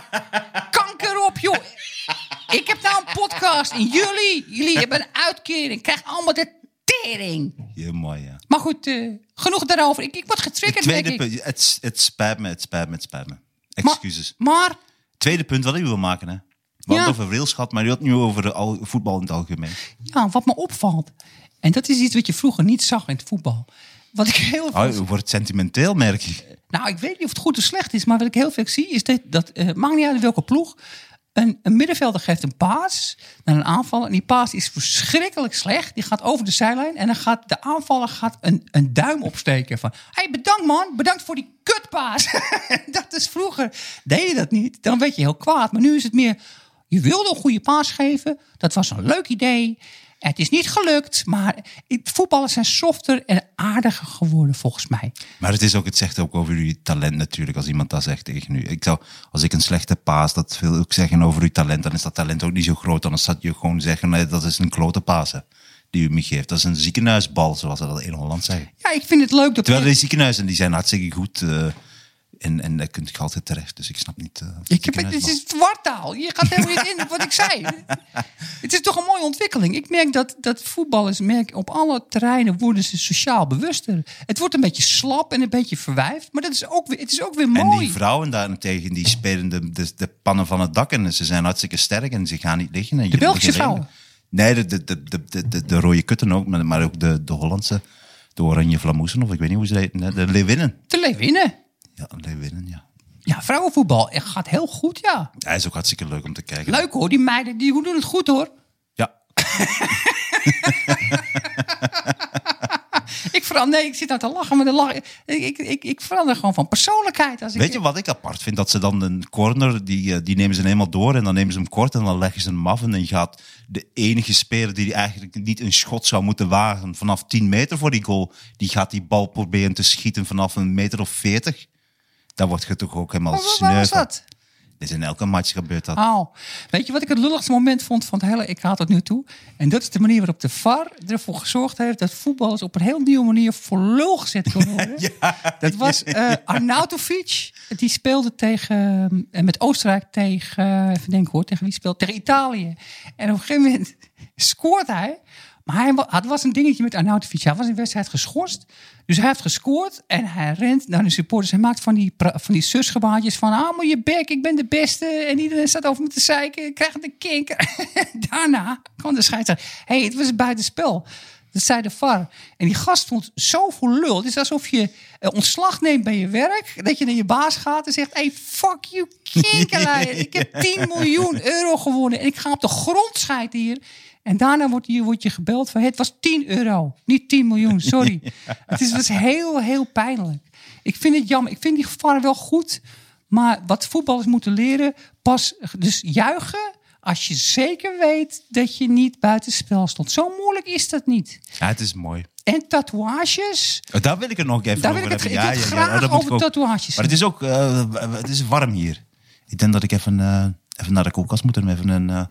Speaker 3: kanker op, joh. Ik heb nou een podcast. En jullie, jullie hebben een uitkering. Krijg allemaal de tering.
Speaker 2: Heel mooi, ja.
Speaker 3: Maar goed, eh, genoeg daarover. Ik, ik word
Speaker 2: Het
Speaker 3: getriggerd, denk
Speaker 2: tweede
Speaker 3: ik.
Speaker 2: punt, het, het spijt me, het spijt me, het spijt me.
Speaker 3: Maar-
Speaker 2: Excuses.
Speaker 3: Maar,
Speaker 2: Tweede punt wat ik wil maken, hè. We hadden
Speaker 3: Ja.
Speaker 2: het over Wales gehad, maar je had het nu over eh, al- voetbal in het algemeen.
Speaker 3: ja, nou, wat me opvalt. En dat is iets wat je vroeger niet zag in het voetbal. Wat ik heel
Speaker 2: Oh,
Speaker 3: veel
Speaker 2: je wordt sentimenteel, merk ik.
Speaker 3: Nou, ik weet niet of het goed of slecht is, maar wat ik heel vaak zie is dat, dat eh maakt niet uit welke ploeg. Een, een middenvelder geeft een paas naar een aanvaller. En die paas is verschrikkelijk slecht. Die gaat over de zijlijn. En dan gaat de aanvaller gaat een, een duim opsteken. Van, hey, bedankt man. Bedankt voor die kutpaas. dat is vroeger. Deed je dat niet. Dan werd je heel kwaad. Maar nu is het meer, je wilde een goede paas geven. Dat was een leuk idee. Het is niet gelukt. Maar voetballers zijn softer en aardiger geworden volgens mij.
Speaker 2: Maar het is ook, het zegt ook over uw talent natuurlijk, als iemand dat zegt tegen u. Ik zou, als ik een slechte paas, dat wil ook zeggen over uw talent, dan is dat talent ook niet zo groot. Anders zou je gewoon zeggen, nee, dat is een klote paas hè, die u me geeft. Dat is een ziekenhuisbal, zoals ze dat in Holland zeggen.
Speaker 3: Ja, ik vind het leuk dat
Speaker 2: Terwijl die ziekenhuizen, die zijn hartstikke goed eh, en, en daar kun je altijd terecht. Dus ik snap niet... eh,
Speaker 3: Ik heb, het
Speaker 2: ziekenhuisbal.
Speaker 3: is dwartaal. Je gaat helemaal niet in op wat ik zei. Het is toch een mooie ontwikkeling. Ik merk dat, dat voetballers merk, op alle terreinen worden ze sociaal bewuster. Het wordt een beetje slap en een beetje verwijfd. Maar dat is ook weer, het is ook weer
Speaker 2: En
Speaker 3: mooi.
Speaker 2: die vrouwen daarentegen, die spelen de, de, de pannen van het dak en ze zijn hartstikke sterk en ze gaan niet liggen. En je
Speaker 3: Belgische
Speaker 2: moet gereden.
Speaker 3: vrouwen?
Speaker 2: Nee, de, de, de, de, de, de, de rode kutten ook, maar maar ook de, de Hollandse, de oranje flamoesen of ik weet niet hoe ze heten. hè, De Leeuwinnen.
Speaker 3: Te leven winnen.
Speaker 2: Ja, Leeuwinnen, ja.
Speaker 3: Ja, vrouwenvoetbal eh, gaat heel goed, ja.
Speaker 2: Hij is ook hartstikke leuk om te kijken.
Speaker 3: Leuk hoor, die meiden die doen het goed hoor.
Speaker 2: Ja.
Speaker 3: ik verander, nee, ik zit nou te lachen, maar de lach, ik, ik, ik, ik verander gewoon van persoonlijkheid. Als
Speaker 2: Weet
Speaker 3: ik,
Speaker 2: je wat ik apart vind? Dat ze dan een corner, die, eh, die nemen ze helemaal door en dan nemen ze hem kort en dan leggen ze hem af. En dan gaat de enige speler die eigenlijk niet een schot zou moeten wagen vanaf 10 meter voor die goal, die gaat die bal proberen te schieten vanaf een meter of 40. Daar wordt je toch ook helemaal
Speaker 3: Waar- waar
Speaker 2: sneu
Speaker 3: was
Speaker 2: van.
Speaker 3: dat?
Speaker 2: Dit is in elke match gebeurt dat.
Speaker 3: Oh, weet je wat ik het lulligste moment vond van het hele EK tot nu toe? En dat is de manier waarop de VAR ervoor gezorgd heeft dat voetballers op een heel nieuwe manier voor lul gezet kunnen worden. dat was eh Arnautovic. Die speelde tegen, eh, met Oostenrijk tegen, eh, even denken hoor, tegen wie speelt? Tegen Italië. En op een gegeven moment scoort hij. Maar hij, wa- het was een dingetje met Arnautovic. Hij was in de wedstrijd geschorst. Dus hij heeft gescoord en hij rent naar de supporters. Hij maakt van die, pra- van die zusgebaantjes van... Ah, moet je bek, ik ben de beste. En iedereen staat over me te zeiken. Ik krijg een kinker. Daarna kwam de scheidsrechter. Hé, hey, het was buitenspel. Dat zei de VAR. En die gast stond zo voor lul. Het is alsof je eh, ontslag neemt bij je werk. Dat je naar je baas gaat en zegt... Hey, fuck you, kinkerleier. Ik heb 10 miljoen euro gewonnen. En ik ga op de grond scheiden hier. En daarna wordt je, wordt je gebeld van... Het was 10 euro, niet 10 miljoen, sorry. Het is, was heel, heel pijnlijk. Ik vind het jammer. Ik vind die gevaren wel goed. Maar wat voetballers moeten leren... Pas dus juichen... Als je zeker weet dat je niet buitenspel stond. Zo moeilijk is dat niet.
Speaker 2: Ja, het is mooi.
Speaker 3: En tatoeages.
Speaker 2: Oh, Daar wil ik het nog even
Speaker 3: Daar
Speaker 2: over
Speaker 3: wil ik het-
Speaker 2: hebben.
Speaker 3: ik wil het graag
Speaker 2: oh, dat moet
Speaker 3: over
Speaker 2: ik ook.
Speaker 3: tatoeages
Speaker 2: Maar het is ook eh, w- w- het is warm hier. Ik denk dat ik even, eh, even naar de koelkast moet en even een, eh,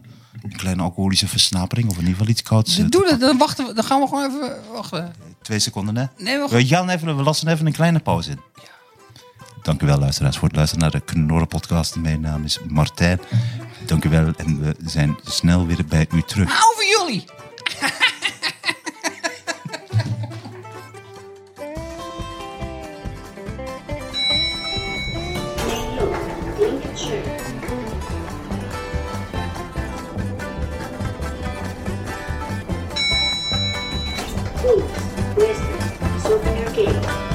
Speaker 2: een kleine alcoholische versnapering of in ieder geval iets kouds. eh,
Speaker 3: Doe dat, dan, wachten we, dan gaan we gewoon even wachten.
Speaker 2: Twee seconden, hè?
Speaker 3: Nee, we-
Speaker 2: we, gaan even, we lassen even een kleine pauze in. Dank u wel, luisteraars, voor het luisteren naar de Knorren podcast. Mijn naam is Martijn. Dank u wel en we zijn snel weer bij u terug.
Speaker 3: Over jullie.
Speaker 5: Please, listen, souvenir game.